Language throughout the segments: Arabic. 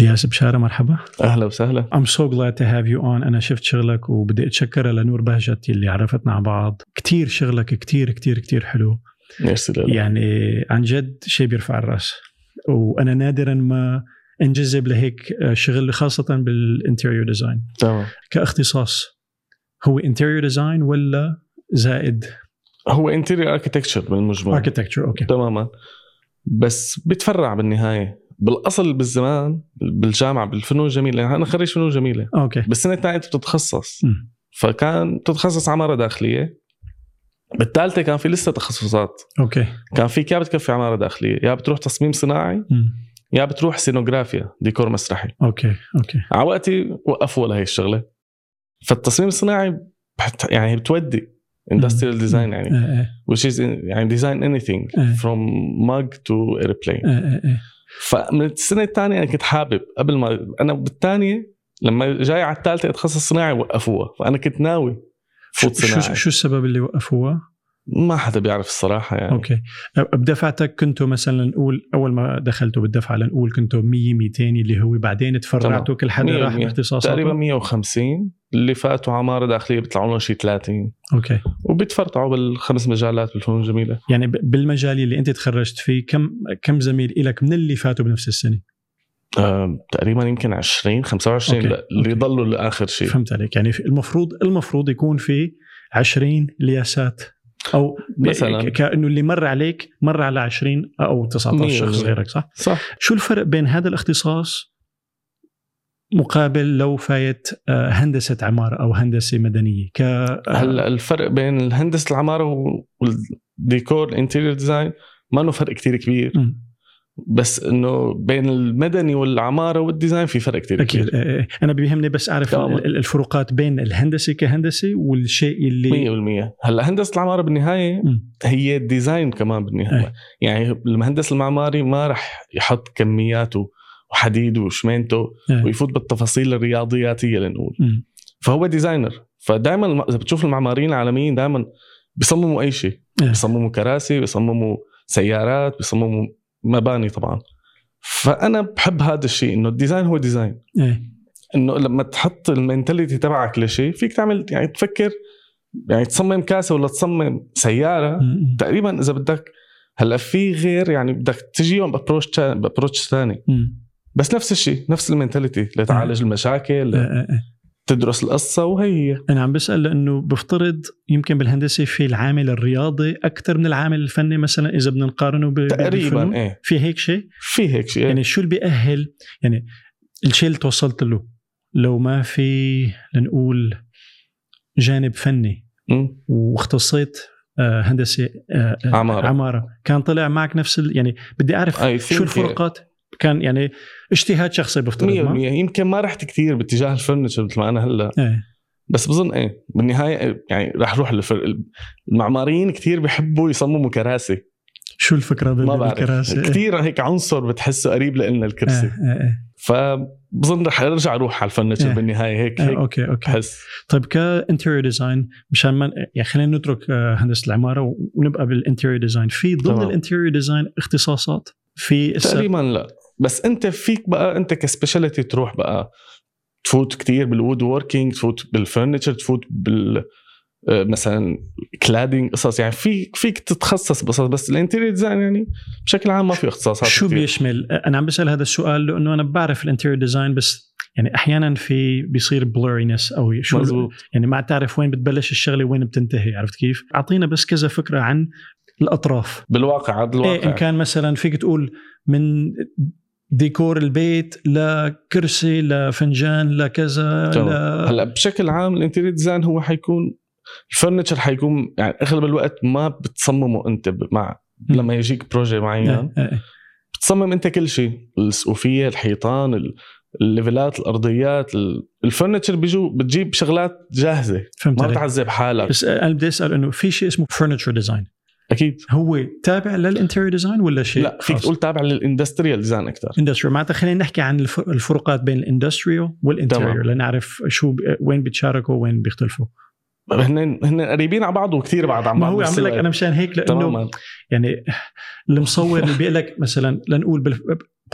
الياس بشاره مرحبا اهلا وسهلا I'm so glad to have you on انا شفت شغلك وبدي اتشكرها لنور بهجتي اللي عرفتنا على بعض كتير شغلك كتير كتير كتير حلو ميرسي لله يعني عن جد شيء بيرفع الراس وانا نادرا ما انجذب لهيك شغل خاصه بالانتيريور ديزاين تمام كاختصاص هو انتيريور ديزاين ولا زائد هو انتيريور اركتكتشر بالمجمل اركتكتشر اوكي تماما بس بتفرع بالنهايه بالاصل بالزمان بالجامعه بالفنون الجميله انا خريج فنون جميله اوكي بالسنه الثانيه انت بتتخصص مم. فكان بتتخصص عماره داخليه بالثالثه كان في لسه تخصصات اوكي كان فيك يا بتكفي عماره داخليه يا بتروح تصميم صناعي مم. يا بتروح سينوغرافيا ديكور مسرحي اوكي اوكي على وقتي وقفوا لهي الشغله فالتصميم الصناعي بحت- يعني بتودي اندستريال ديزاين إيه، يعني إيه، which is in- يعني ديزاين anything إيه. from mug to airplane إيه، إيه، إيه. فمن السنه الثانيه انا كنت حابب قبل ما انا بالثانيه لما جاي على الثالثه اتخصص صناعي وقفوها فانا كنت ناوي شو فوت شو- صناعي شو السبب اللي وقفوها؟ ما حدا بيعرف الصراحه يعني اوكي بدفعتك كنتوا مثلا نقول اول ما دخلتوا بالدفعه لنقول كنتوا 100 200 اللي هو بعدين تفرعتوا كل حدا مية راح ومية. باختصاصاته تقريبا 150 اللي فاتوا عماره داخليه بيطلعوا لهم شي 30 اوكي وبيتفرطعوا بالخمس مجالات بالفنون الجميله يعني ب- بالمجال اللي انت تخرجت فيه كم كم زميل إلك من اللي فاتوا بنفس السنه آه، تقريبا يمكن 20 25 أوكي، لا اللي أوكي. ضلوا لاخر شيء فهمت عليك يعني في- المفروض المفروض يكون في 20 لياسات او مثلاً. ك- كانه اللي مر عليك مر على 20 او 19 مية شخص بالمية. غيرك صح؟ صح شو الفرق بين هذا الاختصاص مقابل لو فايت آه، هندسه عماره او هندسه مدنيه ك هلا الفرق بين الهندسه العماره والديكور الانتيريور ديزاين ما انه فرق كتير كبير مم. بس انه بين المدني والعماره والديزاين في فرق كتير اكيد كبير آه، آه. انا بيهمني بس اعرف تماماً. ال- ال- الفروقات بين الهندسه كهندسه والشيء اللي 100% هلا هندسه العماره بالنهايه مم. هي الديزاين كمان بالنهايه أي. يعني المهندس المعماري ما رح يحط كمياته وحديد وشمينته أي. ويفوت بالتفاصيل الرياضياتيه لنقول آه. مم. فهو ديزاينر فدائما الم- اذا بتشوف المعماريين العالميين دائما بيصمموا اي شيء إيه. بيصمموا كراسي بيصمموا سيارات بيصمموا مباني طبعا فانا بحب هذا الشيء انه الديزاين هو ديزاين إيه. انه لما تحط المنتاليتي تبعك لشيء فيك تعمل يعني تفكر يعني تصمم كاسه ولا تصمم سياره مم. تقريبا اذا بدك هلا في غير يعني بدك تجيهم بابروتش بابروتش ثاني مم. بس نفس الشيء نفس المنتاليتي لتعالج آه، المشاكل آه، آه. تدرس القصه وهي هي انا عم بسال لانه بفترض يمكن بالهندسه في العامل الرياضي اكثر من العامل الفني مثلا اذا بدنا نقارنه ب- تقريبا بالفنون. ايه في هيك شيء في هيك شيء يعني يعني شو اللي بيأهل يعني الشيء اللي توصلت له لو ما في لنقول جانب فني واختصيت آه، هندسه آه، آه، عمارة. عماره كان طلع معك نفس ال... يعني بدي اعرف I think شو الفروقات كان يعني اجتهاد شخصي بفترض 100% طيب، ما؟ يمكن ما رحت كثير باتجاه الفرنتشر مثل ما انا هلا ايه بس بظن ايه بالنهايه إيه، يعني رح روح للفرق المعماريين كثير بيحبوا يصمموا كراسي شو الفكره بال- ما بعرف بالكراسي كثير هيك عنصر بتحسه قريب لنا إيه. الكرسي إيه، إيه، إيه. فبظن رح ارجع اروح على الفرنتشر إيه. بالنهايه هيك إيه، هيك اوكي اوكي بحس طيب كانتيريور ديزاين مشان ما يعني خلينا نترك آه، هندسه العماره و- ونبقى بالانتيريور ديزاين في ضمن تمام. الانتيريور ديزاين اختصاصات في إسا- تقريبا لا بس انت فيك بقى انت كسبيشاليتي تروح بقى تفوت كتير بالوود ووركينج تفوت بالفرنتشر تفوت بال آه، مثلا كلادينج قصص يعني في فيك تتخصص بقصص بس الانتيريور ديزاين يعني بشكل عام ما في اختصاصات شو كتير. بيشمل انا عم بسال هذا السؤال لانه انا بعرف الانتيريور ديزاين بس يعني احيانا في بيصير بلورينس او شو مزبوط يعني ما تعرف وين بتبلش الشغله وين بتنتهي عرفت كيف اعطينا بس كذا فكره عن الاطراف بالواقع عرض الواقع إيه ان كان مثلا فيك تقول من ديكور البيت لكرسي لفنجان لكذا تمام. ل... هلا بشكل عام الانتيريور ديزاين هو حيكون الفرنتشر حيكون يعني اغلب الوقت ما بتصممه انت ب- مع لما يجيك بروجي معين إيه، إيه، بتصمم انت كل شيء السقوفيه الحيطان ال- الليفلات الارضيات ال- الفرنتشر بيجو بتجيب شغلات جاهزه فهمت ما عليك بتعذب حالك بس انا بدي اسال انه في شيء اسمه فرنتشر ديزاين اكيد هو تابع للانتيريور ديزاين ولا شيء لا فيك خاص؟ تقول تابع للاندستريال ديزاين اكثر اندستريال معناتها خلينا نحكي عن الف- الفروقات بين الاندستريال تمام. والانتيريور لنعرف شو ب- وين بيتشاركوا وين بيختلفوا هن هن قريبين على بعض وكثير بعض عن ما بعض هو بس عم لك لا- انا مشان هيك لانه تماما يعني المصور اللي بيقول لك مثلا لنقول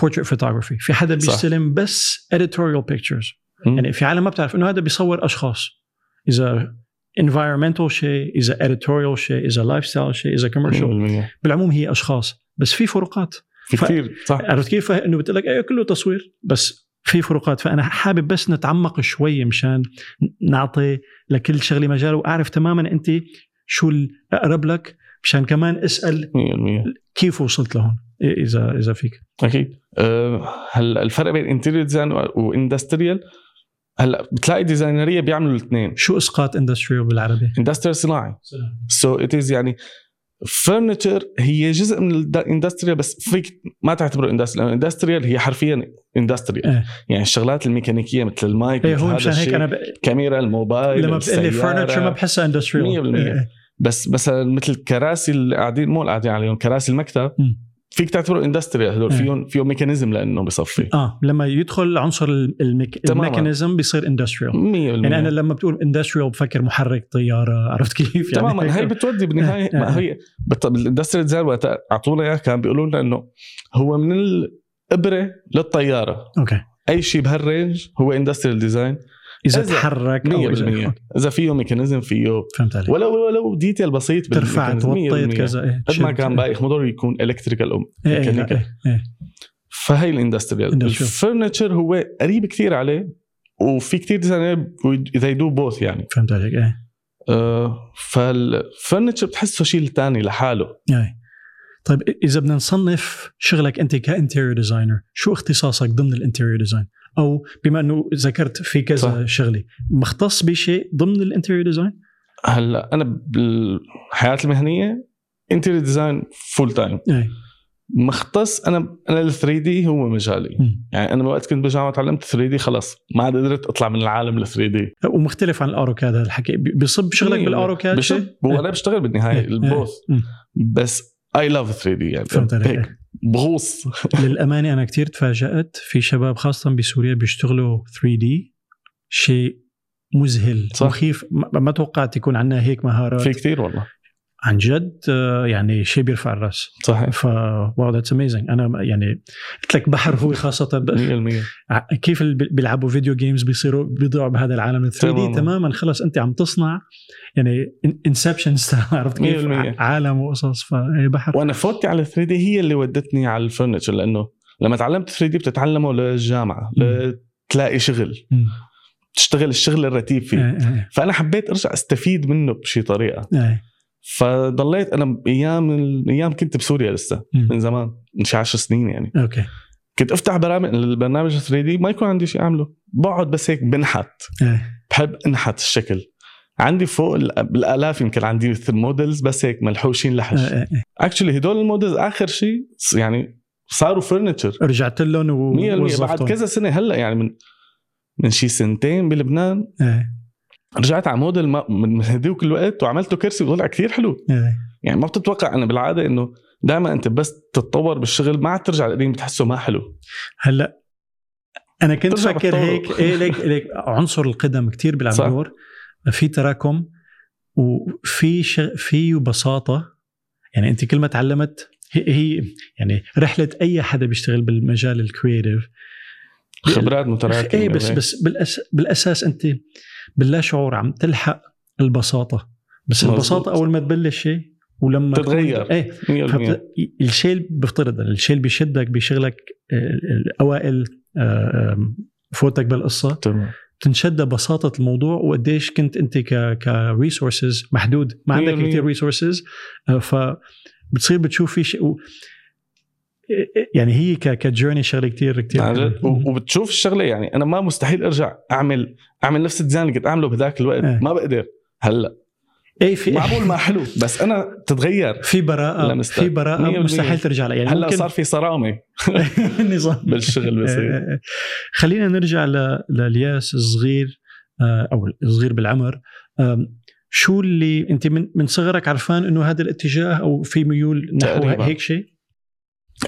بورتريت فوتوغرافي في حدا صح. بيستلم بس editorial pictures مم. يعني في عالم ما بتعرف انه هذا بيصور اشخاص اذا environmental شيء اذا editorial شيء اذا lifestyle شيء اذا commercial 100% بالعموم هي اشخاص بس في فروقات في ف- آه. كثير صح عرفت كيف؟ انه بتقول لك ايوه كله تصوير بس في فروقات فانا حابب بس نتعمق شوي مشان نعطي لكل شغله مجال واعرف تماما انت شو الاقرب لك مشان كمان اسال 100% كيف وصلت لهون إيه اذا اذا فيك اكيد أه، هلا الفرق بين انتيريور ديزاين واندستريال هلا بتلاقي ديزاينريه بيعملوا الاثنين شو اسقاط اندستريال بالعربي؟ اندستريال صناعي سو ات از يعني فرنتشر هي جزء من الاندستريال بس فيك ما تعتبره اندستريال لانه الاندستريال هي حرفيا اندستريال إيه. يعني الشغلات الميكانيكيه مثل المايك ايه مثل هو مشان هيك انا ب... الكاميرا الموبايل لما بتقول لي طيب، السيارة. فرنتشر ما بحسها إيه. مية اندستريال بالمية. بس مثلا مثل الكراسي اللي قاعدين مو اللي قاعدين عليهم كراسي المكتب مم. فيك تعتبره اندستريال هدول إيه. فيهم فيهم ميكانيزم لانه بصفي اه لما يدخل عنصر الميك... تماماً. الميكانيزم بيصير 100% اندستريال يعني انا لما بتقول اندستريال بفكر محرك طياره عرفت كيف؟ يعني تماما هي هيك. بتودي بالنهايه آه، ما آه. هي بت- بالاندستريال ديزاين وقت اعطونا اياه كان بيقولوا لنا انه هو من الابره للطياره اوكي اي شيء بهالرينج هو اندستريال ديزاين اذا إذا- تحرك 100% أو إذا- اذا فيه ميكانيزم فيه فهمت عليك ولو ولو ديتيل بسيط ترفعت بالميكانيزم، مية وطيت بالمية. كذا ايه قد ما شلت. كان باقي موضوع يكون الكتريكال او إيه، إيه، لا، ميكانيكال إيه، إيه. فهي الاندستريال Industrial. الفرنتشر هو قريب كثير عليه وفي كثير ديزاينر ذي دو بوث يعني فهمت عليك ايه أه، فالفرنتشر بتحسه شيء ثاني لحاله إيه. طيب اذا بدنا نصنف شغلك انت كانتيريور ديزاينر شو اختصاصك ضمن الانتيريور ديزاين او بما انه ذكرت في كذا شغله مختص بشيء ضمن الانتيريور ديزاين هلا انا بالحياه المهنيه انتيريور ديزاين فول تايم ايه مختص انا انا ال 3 دي هو مجالي مم. يعني انا وقت كنت بالجامعه تعلمت 3 دي خلاص ما عاد قدرت اطلع من العالم ال 3 دي ومختلف عن الاوروكاد هذا الحكي بي- بيصب شغلك بالاوروكاد بشب شيء؟ وانا بشتغل بالنهايه إيه. البوث مم. بس اي لاف 3 دي يعني فهمت عليك هيك إيه. بغوص للامانه انا كثير تفاجات في شباب خاصه بسوريا بيشتغلوا 3 دي شيء مذهل صح. مخيف ما ما توقعت يكون عندنا هيك مهارات في كثير والله عن جد آه، يعني شيء بيرفع الراس صحيح ف واو ذاتس اميزنج انا ما- يعني قلت لك بحر هو خاصه ب... 100% ع- كيف اللي بي- بيلعبوا فيديو جيمز بيصيروا بيضيعوا بهذا العالم 3 دي تماماً. تماما خلص انت عم تصنع يعني انسبشن عرفت كيف 100%. ع- عالم وقصص فهي بحر وانا فوتي على 3 دي هي اللي ودتني على الفرنتشر لانه لما تعلمت 3 دي بتتعلمه للجامعه لتلاقي شغل مم. تشتغل الشغل الرتيب فيه إيه، إيه، فانا حبيت ارجع استفيد منه بشي طريقه إيه. فضليت انا ايام ايام كنت بسوريا لسه مم. من زمان من شي 10 سنين يعني اوكي كنت افتح برامج البرنامج 3 دي ما يكون عندي شيء اعمله بقعد بس هيك بنحت إيه. بحب انحت الشكل عندي فوق ال- بالالاف يمكن عندي مودلز بس هيك ملحوشين لحش إيه، إيه، إيه. اكشلي هدول المودلز اخر شيء يعني صاروا فرنتشر رجعت لهم 100% بعد ووظفتهم كذا سنه هلا يعني من من شي سنتين بلبنان إيه، رجعت على موديل ما من من هديك الوقت وعملته كرسي وطلع كثير حلو إيه. يعني ما بتتوقع انا بالعاده انه دائما انت بس تتطور بالشغل ما عاد ترجع القديم بتحسه ما حلو هلا انا كنت بترجع فكر بتطور. هيك ايه ليك ليك عنصر القدم كتير بيلعب صح. دور في تراكم وفي ش... في بساطه يعني انت كل ما تعلمت هي, هي يعني رحله اي حدا بيشتغل بالمجال الكرييتيف خبرات متراكمه ايه بس بس بالأس... بالاساس انت باللا شعور عم تلحق البساطه بس مظبوط. البساطه اول ما تبلش شيء ولما تكون- تتغير. ايه 100% فبت- الشيء اللي بيفترض الشيء اللي بيشدك بشغلك الاوائل آه، آم، فوتك بالقصه تمام تنشد بساطه الموضوع وقديش كنت انت ك كريسورسز محدود ما عندك 100%. كثير ريسورسز فبتصير بتشوف في شيء و- يعني هي ك كجيرني شغله كثير كثير عن جد. يعني و- وبتشوف الشغله يعني انا ما مستحيل ارجع اعمل اعمل نفس الديزاين اللي كنت اعمله بذاك الوقت إيه. ما بقدر هلا اي إيه، في معقول ما حلو بس انا تتغير في براءه لمستك. في براءه 100%. مستحيل ترجع لها يعني هلا ممكن صار في صرامه النظام بالشغل بصير آه، آه، آه. خلينا نرجع ل- للياس الصغير آه، او الصغير بالعمر آم، شو اللي انت من من صغرك عرفان انه هذا الاتجاه او في ميول نحو تقريباً. هيك شيء؟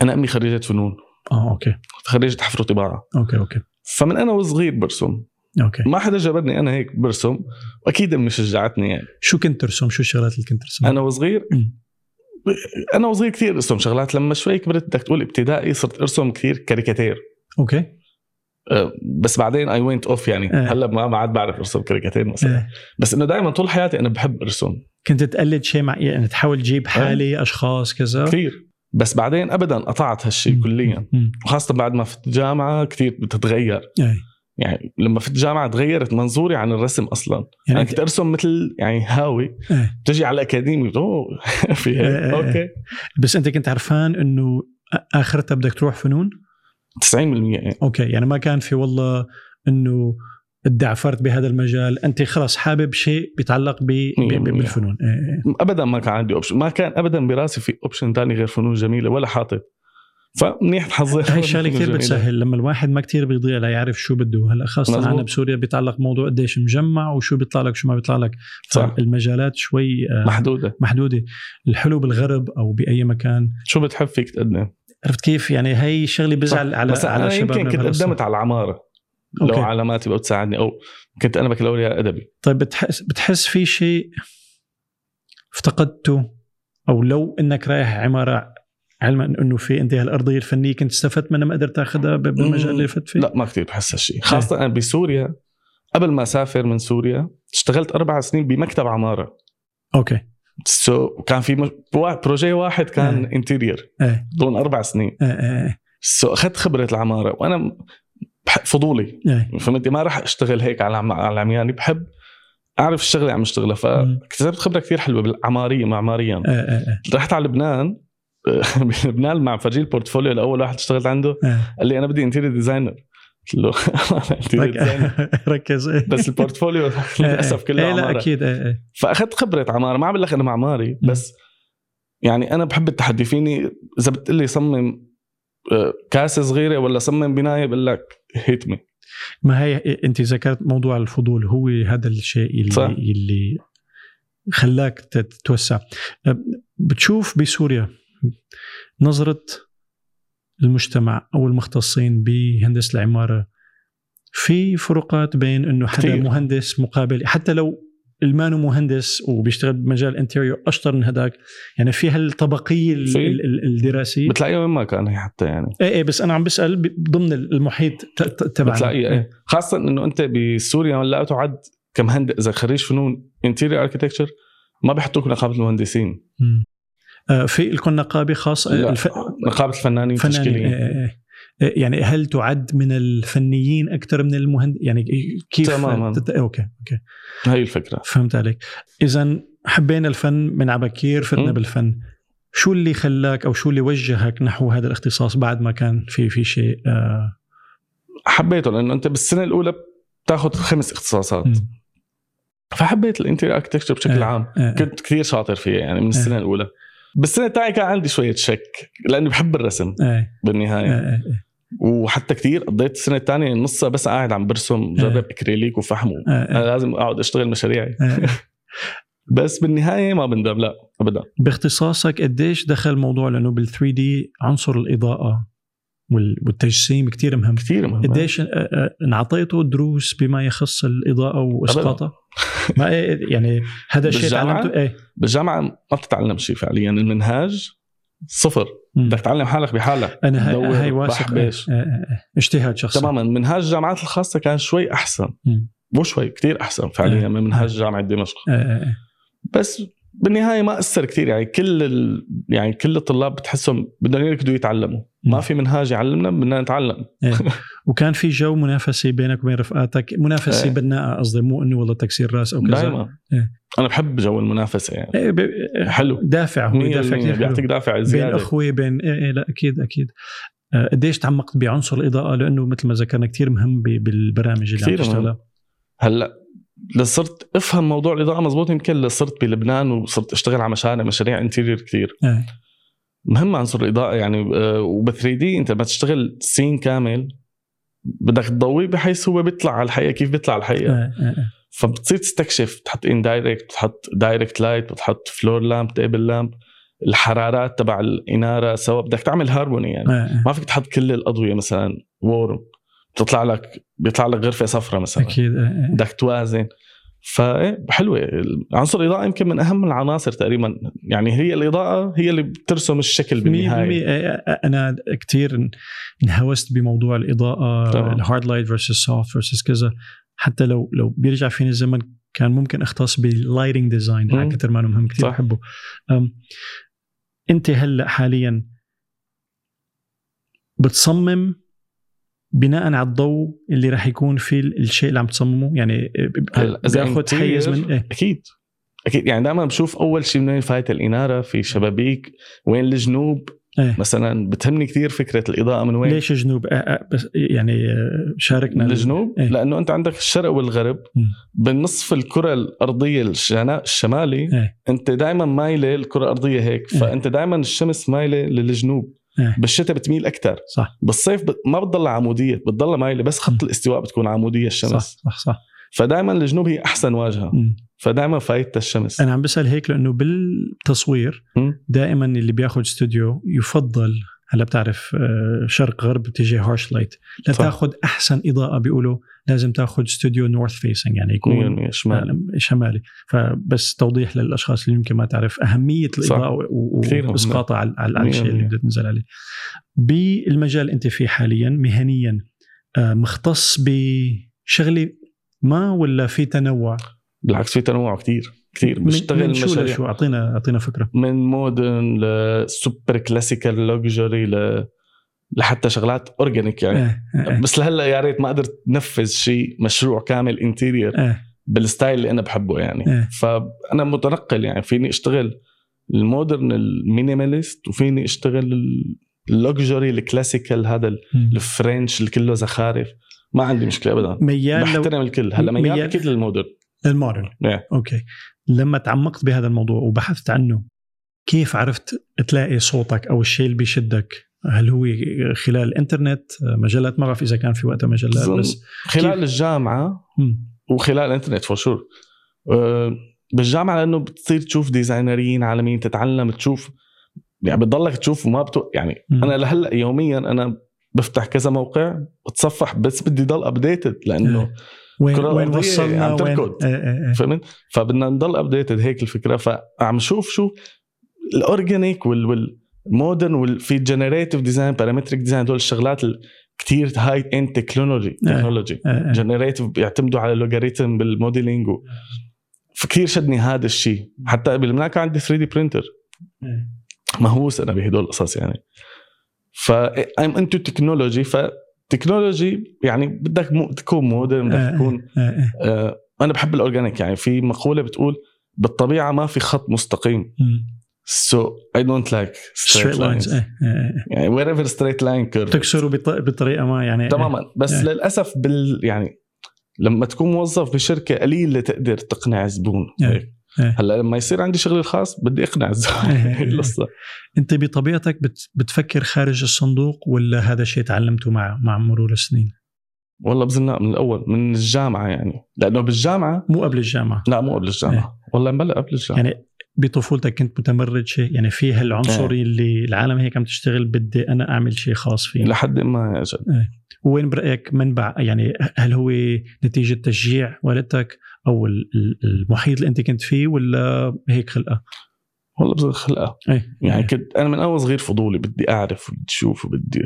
انا امي خريجه فنون اه اوكي خريجه حفر وطباعه اوكي اوكي فمن انا وصغير برسم اوكي ما حدا جبرني انا هيك برسم واكيد امي شجعتني يعني شو كنت ترسم؟ شو الشغلات اللي كنت ترسمها؟ انا وصغير مم. انا وصغير كثير ارسم شغلات لما شوي كبرت بدك تقول ابتدائي صرت ارسم كثير كاريكاتير اوكي أه، بس بعدين اي وينت اوف يعني إيه. هلا ما ما عاد بعرف ارسم كاريكاتير مثلا إيه. بس انه دائما طول حياتي انا بحب ارسم كنت تقلد شيء مع يعني تحاول تجيب حالي اشخاص كذا كثير بس بعدين ابدا قطعت هالشيء آه. مم. كليا مم. وخاصه بعد ما فت جامعه كثير بتتغير إيه. يعني لما فت جامعه تغيرت منظوري عن الرسم اصلا يعني انا انت كنت ارسم مثل يعني هاوي إيه. بتجي على الاكاديمي بتقول، اوه في إيه، إيه، هيك إيه. اوكي بس انت كنت عرفان انه آ- اخرتها بدك تروح فنون 90% يعني اوكي يعني ما كان في والله انه ادعفرت بهذا المجال انت خلاص حابب شيء بيتعلق ب... ب... ب... بالفنون إيه، إيه. ابدا ما كان عندي اوبشن ما كان ابدا براسي في اوبشن ثاني غير فنون جميله ولا حاطط فمنيح حظي هاي الشغله كثير بتسهل لما الواحد ما كثير بيضيع ليعرف شو بده هلا خاصه مزبوط. عنا بسوريا بيتعلق موضوع قديش مجمع وشو بيطلع لك شو ما بيطلع لك صح. طيب. فالمجالات شوي آه، محدوده محدوده الحلو بالغرب او باي مكان شو بتحب فيك تقدم عرفت كيف يعني هي شغله بزعل على بس على انا يمكن شبابنا كنت بهالقصة. قدمت على العماره لو أوكي. علاماتي بقى بتساعدني او كنت انا بكالوريا ادبي طيب بتحس بتحس في شيء افتقدته او لو انك رايح عماره علما انه في انت هالارضيه الفنيه كنت استفدت منها ما قدرت تاخذها ب- بالمجال اللي فت فيه لا ما كثير بحس إيه. هالشيء خاصه انا بسوريا قبل ما اسافر من سوريا اشتغلت اربع سنين بمكتب عماره اوكي سو كان في مش... وا- بروجي واحد كان انتيرير ايه ضمن اربع سنين ايه ايه سو اخذت خبره العماره وانا م- بح- فضولي ايه فهمت ما راح اشتغل هيك على عم- على عمياني بحب اعرف الشغله اللي عم اشتغلها فاكتسبت خبره كثير حلوه بالعماريه معماريا ايه ايه رحت على لبنان بلبنان مع فرجي البورتفوليو الاول واحد اشتغلت عنده ايه قال لي انا بدي انتيريور ديزاينر قلت له أنا interior designer. رك- ركز ايه بس البورتفوليو للاسف كله ايه لا عماره اكيد ايه ايه فاخذت خبره عماره ما عم بقول لك انا معماري م. بس يعني انا بحب التحدي فيني اذا بتقول لي صمم آه، كاسه صغيره ولا صمم بنايه بقول لك هيت مي ما هي انت ذكرت موضوع الفضول هو هذا الشيء اللي صح. اللي خلاك تت- تتوسع بتشوف بسوريا نظرة المجتمع او المختصين بهندسة العمارة في فروقات بين انه حدا كتير. كتير. مهندس مقابل حتى لو المانو مهندس وبيشتغل بمجال انتيريور اشطر من هداك يعني في هالطبقيه ال- في. ال- ال- الدراسيه بتلاقيها وين ما كان هي حتى يعني ايه ايه بس انا عم بسال ب- ضمن المحيط ت- ت- تبعنا بتلاقيها إيه. خاصه انه انت بسوريا هلا تعد كمهندس اذا خريج فنون انتيريور اركتكتشر ما بيحطوك نقابه المهندسين مم. آه، في لكم نقابه خاصه لا، آه، طيب، الف... نقابه الفنانين فنانين التشكيليين آه، آه، آه. يعني هل تعد من الفنيين اكثر من المهند يعني كيف تماماً. تت... اوكي اوكي هي الفكره فهمت عليك اذا حبينا الفن من عبكير فتنا مم. بالفن شو اللي خلاك او شو اللي وجهك نحو هذا الاختصاص بعد ما كان في في شيء آه... حبيته لانه انت بالسنه الاولى بتاخذ خمس اختصاصات مم. فحبيت الانتيريور اركتكتشر بشكل إيه. عام آه، كنت كثير شاطر فيها يعني من السنه الاولى بالسنه الثانيه كان عندي شويه شك لاني بحب الرسم آه، آه، آه، بالنهايه آه، وحتى كثير قضيت السنه الثانيه نصها بس قاعد عم برسم إيه. جرب اكريليك وفحم آه، آه، انا لازم اقعد اشتغل مشاريعي آه. بس بالنهايه ما بندم لا ابدا باختصاصك قديش دخل موضوع لانه بال 3 دي عنصر الاضاءه وال- والتجسيم كتير مهم كثير مهم قديش آه، آه، انعطيته دروس بما يخص الاضاءه واسقاطها؟ ما إيه- يعني هذا الشيء بالجامعة؟ تعلمته ايه بالجامعه ما بتتعلم شيء فعليا المنهاج صفر مم. بدك تتعلم حالك بحالك انا دور، هاي- هاي واثق إيه، بحبش. إيه، إيه. اجتهاد شخصي تماما منهاج الجامعات الخاصه كان شوي احسن مم. مو شوي كثير احسن فعليا إيه. من منهاج جامعه دمشق إيه، إيه، إيه. بس بالنهايه ما اثر كثير يعني كل ال... يعني كل الطلاب بتحسهم بدهم يركضوا يتعلموا إيه. ما في منهاج يعلمنا بدنا نتعلم وكان في جو منافسه بينك وبين رفقاتك منافسه إيه. بناءه قصدي مو انه والله تكسير راس او كذا دائما إيه. انا بحب جو المنافسه يعني إيه، ب- إيه، حلو دافع هو 100% دافع كثير حلو. بيعطيك دافع بين زياده اخوه بين إيه إيه لا اكيد اكيد آه، قديش تعمقت بعنصر الاضاءه لانه مثل ما ذكرنا كثير مهم ب- بالبرامج اللي عم كتير مهم. تشتغلها هلا لصرت افهم موضوع الاضاءه مزبوط يمكن لصرت بلبنان وصرت اشتغل على مشاريع مشاريع انتيرير كثير إيه. مهم عنصر الاضاءه يعني وب 3 دي انت لما تشتغل سين كامل بدك تضويه بحيث هو بيطلع على الحقيقه كيف بيطلع على الحقيقه إيه، إيه، إيه. فبتصير تستكشف بتحط ان دايركت بتحط دايركت لايت بتحط فلور لامب تيبل لامب الحرارات تبع الاناره سوا بدك تعمل هارموني يعني إيه، إيه. ما فيك تحط كل الاضويه مثلا وورم بتطلع لك بيطلع لك غرفه صفراء مثلا اكيد إيه، إيه. بدك توازن فحلوه عنصر الاضاءه يمكن من اهم العناصر تقريبا يعني هي الاضاءه هي اللي بترسم الشكل بالنهايه 100% انا كثير آه، انهوست بموضوع الاضاءه طبعاً. الهارد لايت فيرسز سوفت فيرسز كذا حتى لو لو بيرجع فيني الزمن كان ممكن اختص باللايتنج ديزاين على مم. كثر ما انه مهم كثير صح. بحبه أم، انت هلا حاليا بتصمم بناء على الضوء اللي راح يكون فيه الشيء اللي عم تصممه يعني هلا إذا بياخد interior حيز من ايه اكيد اكيد يعني دائما بشوف اول شيء من وين فايت الاناره في شبابيك وين الجنوب إيه. مثلا بتهمني كثير فكره الاضاءه من وين ليش جنوب آه، آه، بس يعني آه، شاركنا الجنوب إيه. لانه انت عندك الشرق والغرب مم. بالنصف الكره الارضيه الشنا- الشمالي إيه. انت دائما مايله الكره الارضيه هيك إيه. فانت دائما الشمس مايله للجنوب إيه. بالشتاء بتميل اكثر صح بالصيف ب... ما بتضل عموديه بتضل مايله بس خط مم. الاستواء بتكون عموديه الشمس إيه. صح صح صح فدائما الجنوب هي احسن واجهه مم. فدائما فايتها الشمس انا عم بسال هيك لانه بالتصوير مم. دائما اللي بياخذ استوديو يفضل هلا بتعرف آه، شرق غرب باتجاه هارش لايت صح. لتاخذ احسن اضاءه بيقولوا لازم تاخذ استوديو نورث فيسنج يعني يكون 100% شمال آه، شمالي فبس توضيح للاشخاص اللي يمكن ما تعرف اهميه الاضاءه و- و- كثير مهم. واسقاطها على على على الشيء اللي 100%. بدها تنزل عليه بالمجال اللي انت فيه حاليا مهنيا آه، مختص بشغله ما ولا في تنوع بالعكس في تنوع كثير كثير من- بشتغل من شو مشاريع لشو اعطينا اعطينا فكره من مودرن لسوبر كلاسيكال لوكجري ل... لحتى شغلات اورجانيك يعني ايه ايه بس لهلا يا ريت ما قدرت نفذ شيء مشروع كامل انتيرير ايه بالستايل اللي انا بحبه إيه. يعني فانا متنقل يعني فيني اشتغل المودرن المينيماليست وفيني اشتغل ال- اللوكجري الكلاسيكال هذا الفرنش اللي كله زخارف ما عندي مشكله ابدا ميال يعني لو طيب. بحترم الكل هلا ميال ميال- اكيد للمودرن للمودرن إيه. اوكي لما تعمقت بهذا الموضوع وبحثت عنه كيف عرفت تلاقي صوتك او الشيء اللي بيشدك هل هو خلال الانترنت مجلات ما بعرف اذا كان في وقتها مجلات أظن بس خلال كيف؟ الجامعه مم. وخلال الانترنت فور شور بالجامعه لانه بتصير تشوف ديزاينرين عالميين تتعلم تشوف يعني بتضلك تشوف وما بتو... يعني مم. انا لهلا يوميا انا بفتح كذا موقع بتصفح بس بدي ضل ابديتد لانه إيه. وين, الكرة وين الأرضية وصلنا يعني عم وين تركض. إيه إيه إيه. فهمت فبدنا نضل ابديتد هيك الفكره فعم شوف شو الاورجانيك وال والمودرن والفي جنريتيف ديزاين بارامتريك ديزاين هدول الشغلات كثير هاي اند تكنولوجي إيه. تكنولوجي إيه إيه. جنريتيف بيعتمدوا على لوغاريتم بالموديلينج و... فكثير شدني هذا الشيء حتى قبل ما كان عندي 3 دي برينتر إيه. مهووس انا بهدول القصص يعني ف I'm into technology فتكنولوجي يعني بدك مو- تكون مودرن آه. بدك تكون إيه إيه. آه، انا بحب الاورجانيك يعني في مقوله بتقول بالطبيعه ما في خط مستقيم مم. so I don't like straight, straight lines lines إيه إيه إيه. يعني wherever straight line curve تكسره بط- بطريقه ما يعني إيه. تماما بس إيه. للاسف بال يعني لما تكون موظف بشركه قليل اللي تقدر تقنع زبون إيه. هيك. إيه. هلا لما يصير عندي شغلي الخاص بدي اقنع الزبون إيه. هي القصه انت بطبيعتك بت- بتفكر خارج الصندوق ولا هذا الشيء تعلمته مع مع مرور السنين والله بظن لا، من الاول من الجامعه يعني لانه بالجامعه مو قبل الجامعه لا مو قبل الجامعه والله بلا قبل الجامعه إيه. يعني بطفولتك كنت متمرد شيء يعني في هالعنصري اللي العالم هيك عم تشتغل بدي انا اعمل شيء خاص فيه لحد ما اجت وين برايك منبع يعني هل هو نتيجه تشجيع والدتك او ال- ال- المحيط اللي انت كنت فيه ولا هيك خلقه والله بظن خلقها ايه يعني كنت انا من اول صغير فضولي بدي اعرف وبدي اشوف وبدي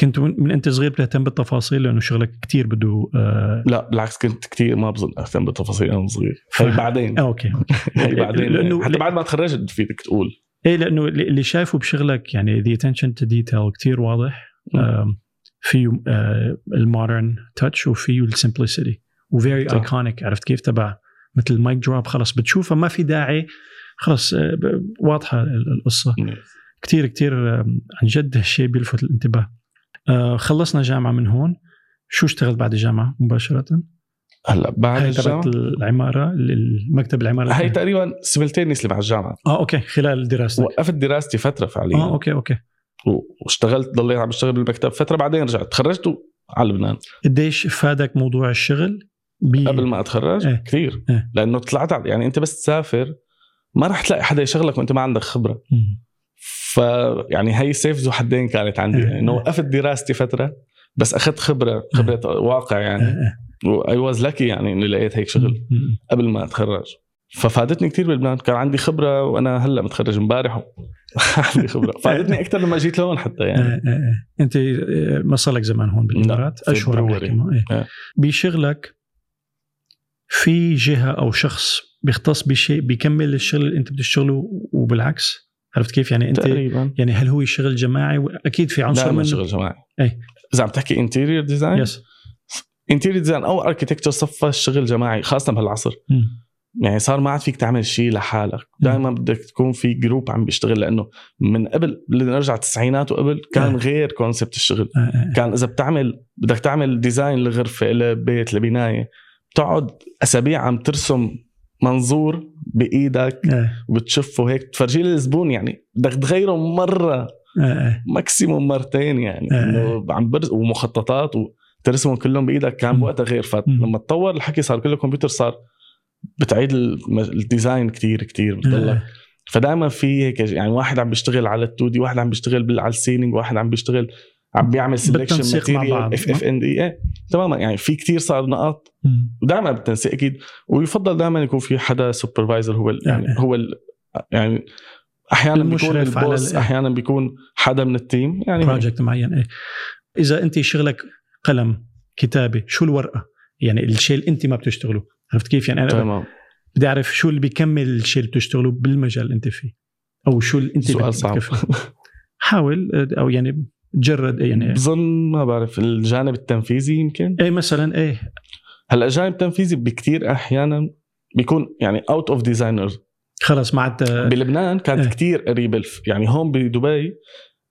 كنت من من انت صغير بتهتم بالتفاصيل لانه شغلك كتير بده آه لا بالعكس كنت كثير ما بظن اهتم بالتفاصيل انا صغير ف- هي بعدين آه، اوكي هي بعدين لأنه- لانه حتى بعد ما تخرجت فيك تقول ايه لانه اللي اللي شايفه بشغلك يعني the attention to detail كتير واضح مم. آم، فيه آه، المودرن تاتش وفيه السمبlicity وفيري صح. ايكونيك عرفت كيف تبع مثل مايك دروب خلص بتشوفها ما في داعي خلص آه، ب- واضحه ال- القصه كتير كتير آم، عن جد هالشيء بيلفت الانتباه آه، خلصنا جامعه من هون شو اشتغلت بعد الجامعه مباشره؟ هلا بعد هاي إيه، تبعت الجامعه العماره المكتب العماره هي تقريبا سيملتينيسلي مع الجامعه اه اوكي خلال دراستك وقفت دراستي فتره اه فعليا اوكي اوكي و- واشتغلت ضليت عم بشتغل بالمكتب فتره بعدين رجعت تخرجت و- على لبنان قديش فادك موضوع الشغل بي... قبل ما اتخرج إيه. ايه. كثير إيه. ايه. لانه طلعت على يعني انت بس تسافر ما رح تلاقي حدا يشغلك وانت ما عندك خبره مم. فيعني هي سيف ذو حدين كانت عندي إيه. يعني انه وقفت دراستي فتره بس اخذت خبره خبره واقع آه، يعني آه. اي واز لاكي يعني اني لقيت هيك شغل مم. قبل ما اتخرج ففادتني كثير بلبنان كان عندي خبره وانا هلا متخرج امبارح عندي خبره فادتني اكثر لما جيت لهون حتى آه، يعني آه، آه. انت آه، ما صار لك زمان هون بالامارات لا، في اشهر عم بروري. بحكي معه، إيه. آه. بشغلك في جهه او شخص بيختص بشيء بيكمل الشغل اللي انت بتشتغله وبالعكس عرفت كيف يعني انت تقريبا يعني هل هو شغل جماعي اكيد في عنصر دائما من شغل جماعي إيه. اذا عم تحكي انتيريور ديزاين يس انتيريور ديزاين او اركيتكتشر صفى شغل جماعي خاصه بهالعصر مم. يعني صار ما عاد فيك تعمل شيء لحالك دائما بدك تكون في جروب عم بيشتغل لانه من قبل بدنا نرجع التسعينات وقبل كان آه. غير كونسبت الشغل آه، آه. كان اذا بتعمل بدك تعمل ديزاين لغرفه لبيت لبنايه بتقعد اسابيع عم ترسم منظور بايدك آه، وبتشفه هيك تفرجيه للزبون يعني بدك تغيره مره آه، آه. ماكسيموم مرتين يعني آه. انه عم برز ومخططات وترسمهم كلهم بايدك كان مم. بوقتها غير مم. فلما تطور الحكي صار كله كمبيوتر صار بتعيد الم- الديزاين كتير كتير بتضلك آه. فدائما في هيك يعني واحد عم بيشتغل على التو دي واحد عم بيشتغل بال- على السيلينج واحد عم بيشتغل عم بيعمل سelection بالتنسيق مع بعض. ماتيريال اف اف ان اي تماما يعني في كتير صار نقاط مم. ودائما بالتنسيق اكيد ويفضل دائما يكون في حدا سوبرفايزر هو ال- يعني آه. هو ال يعني احيانا بيكون المشرف على البوس ال- احيانا بيكون حدا من التيم يعني بروجكت معين إيه. اذا انت شغلك قلم كتابه شو الورقه يعني الشيء اللي انت ما بتشتغله عرفت كيف يعني انا تمام بدي اعرف شو اللي بيكمل الشيء اللي بتشتغله بالمجال اللي انت فيه او شو اللي انت سؤال بت- صعب. بتكفي. حاول آه، او يعني جرد يعني بظن ما بعرف الجانب التنفيذي يمكن ايه مثلا ايه هلا الجانب التنفيذي بكتير احيانا بيكون يعني اوت اوف ديزاينرز خلص ما عاد آه، بلبنان كانت إيه. إيه. كتير قريبه الف... يعني هون بدبي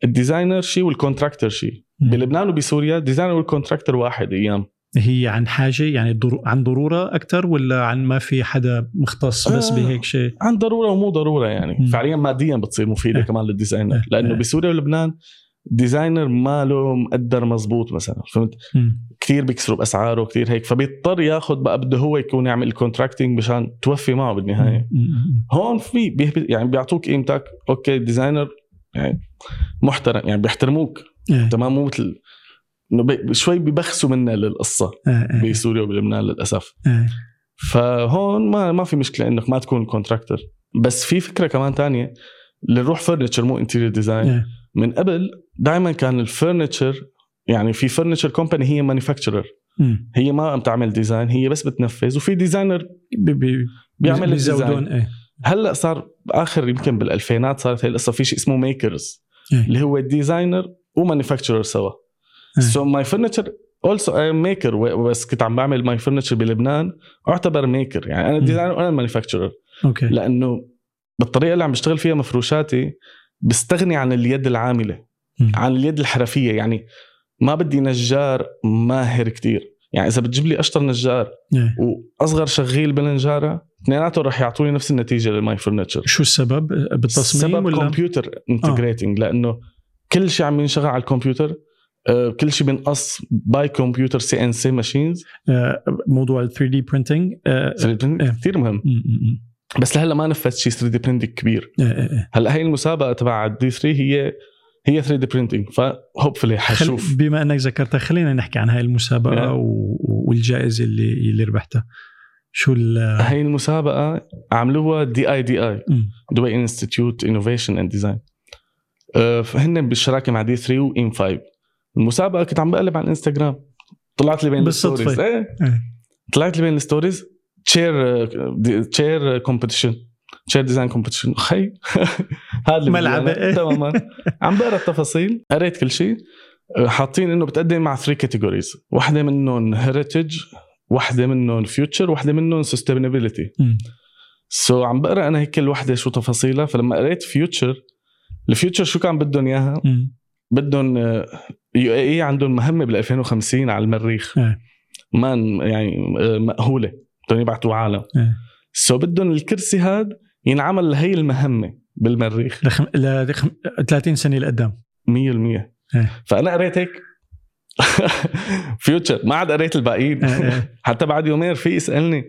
الديزاينر شيء والكونتراكتر شيء بلبنان وبسوريا الديزاينر والكونتراكتر واحد ايام هي عن حاجه يعني ضرو... عن ضروره اكثر ولا عن ما في حدا مختص بس آه. بهيك شيء عن ضروره ومو ضروره يعني مم. م. فعليا ماديا بتصير مفيده إيه. إيه. كمان للديزاينر إيه. إيه. لانه إيه. بسوريا ولبنان ديزاينر ما له مقدر مزبوط مثلا فهمت مم. كثير بيكسروا باسعاره كثير هيك فبيضطر ياخذ بقى بده هو يكون يعمل الكونتراكتنج مشان توفي معه بالنهايه مم. هون في بيهب- يعني بيعطوك قيمتك اوكي ديزاينر يعني محترم يعني بيحترموك إيه. تمام مو مثل انه بي- شوي ببخسوا منا للقصه آه، آه، بسوريا وبلبنان للاسف آه. فهون ما ما في مشكله انك ما تكون كونتراكتر بس في فكره كمان تانية لنروح فرنتشر مو انتيريور ديزاين إيه. من قبل دائما كان الفرنتشر يعني في فرنتشر كومباني هي مانيفاكتشرر مم. هي ما عم تعمل ديزاين هي بس بتنفذ وفي ديزاينر بي- بي- بيعمل الديزاين بيزودون ايه هلا صار باخر يمكن بالالفينات صارت هي القصه في شيء اسمه ميكرز إيه. اللي هو ديزاينر ومانيفاكتشرر سوا إيه. سو ماي فرنتشر اولسو اي ميكر بس كنت عم بعمل ماي فرنتشر بلبنان اعتبر ميكر يعني انا مم. ديزاينر وانا مانيفاكتشرر اوكي لانه بالطريقه اللي عم بشتغل فيها مفروشاتي بستغني عن اليد العامله مم. عن اليد الحرفيه يعني ما بدي نجار ماهر كتير يعني اذا بتجيب لي اشطر نجار إيه. واصغر شغيل بالنجاره اثنيناتهم رح يعطوني نفس النتيجه للماي فرنتشر شو السبب بالتصميم سبب ولا آه. كمبيوتر انتجريتنج لانه كل شيء عم ينشغل على الكمبيوتر آه، كل شيء بنقص باي كمبيوتر سي ان سي ماشينز آه، موضوع ال 3 دي برينتنج إيه. كثير مهم بس لهلا ما نفذ شيء 3 دي برينتنج كبير إيه، هلا هي المسابقه تبع الدي 3 هي هي 3 دي برينتنج فهوبفلي حشوف خل... بما انك ذكرتها خلينا نحكي عن هاي المسابقه إيه. و... والجائزه اللي اللي ربحتها شو ال هي المسابقه عملوها دي اي دي اي مم. دبي انستيتيوت انوفيشن اند ديزاين فهن بالشراكه آه، مع دي 3 وان 5 المسابقه كنت عم بقلب على الانستغرام طلعت لي بين بالصدفة. الستوريز ايه إيه. طلعت لي بين الستوريز تشير تشير كومبetition تشير ديزاين كومبetition خي هذا اللي ملعبة، بدي أنا. إيه. تماما عم بقرا التفاصيل قريت كل شيء أه، حاطين انه بتقدم مع 3 كاتيجوريز واحده منهم هيريتج واحده منهم فيوتشر واحده منهم سستينابيلتي مم. سو عم بقرا انا هيك كل وحده شو تفاصيلها فلما قريت فيوتشر الفيوتشر شو كان بدهم اياها مم. بدهم آه، يو اي اي عندهم مهمه بال 2050 على المريخ إيه. مان يعني آه، مأهوله بدهم يبعثوا عالم إيه. سو بدهم الكرسي هاد ينعمل لهي المهمه بالمريخ لخم... لخم... 30 سنه لقدام 100% إيه. فانا قريت هيك فيوتشر ما عاد قريت الباقيين إيه، إيه. حتى بعد يومين رفيق يسالني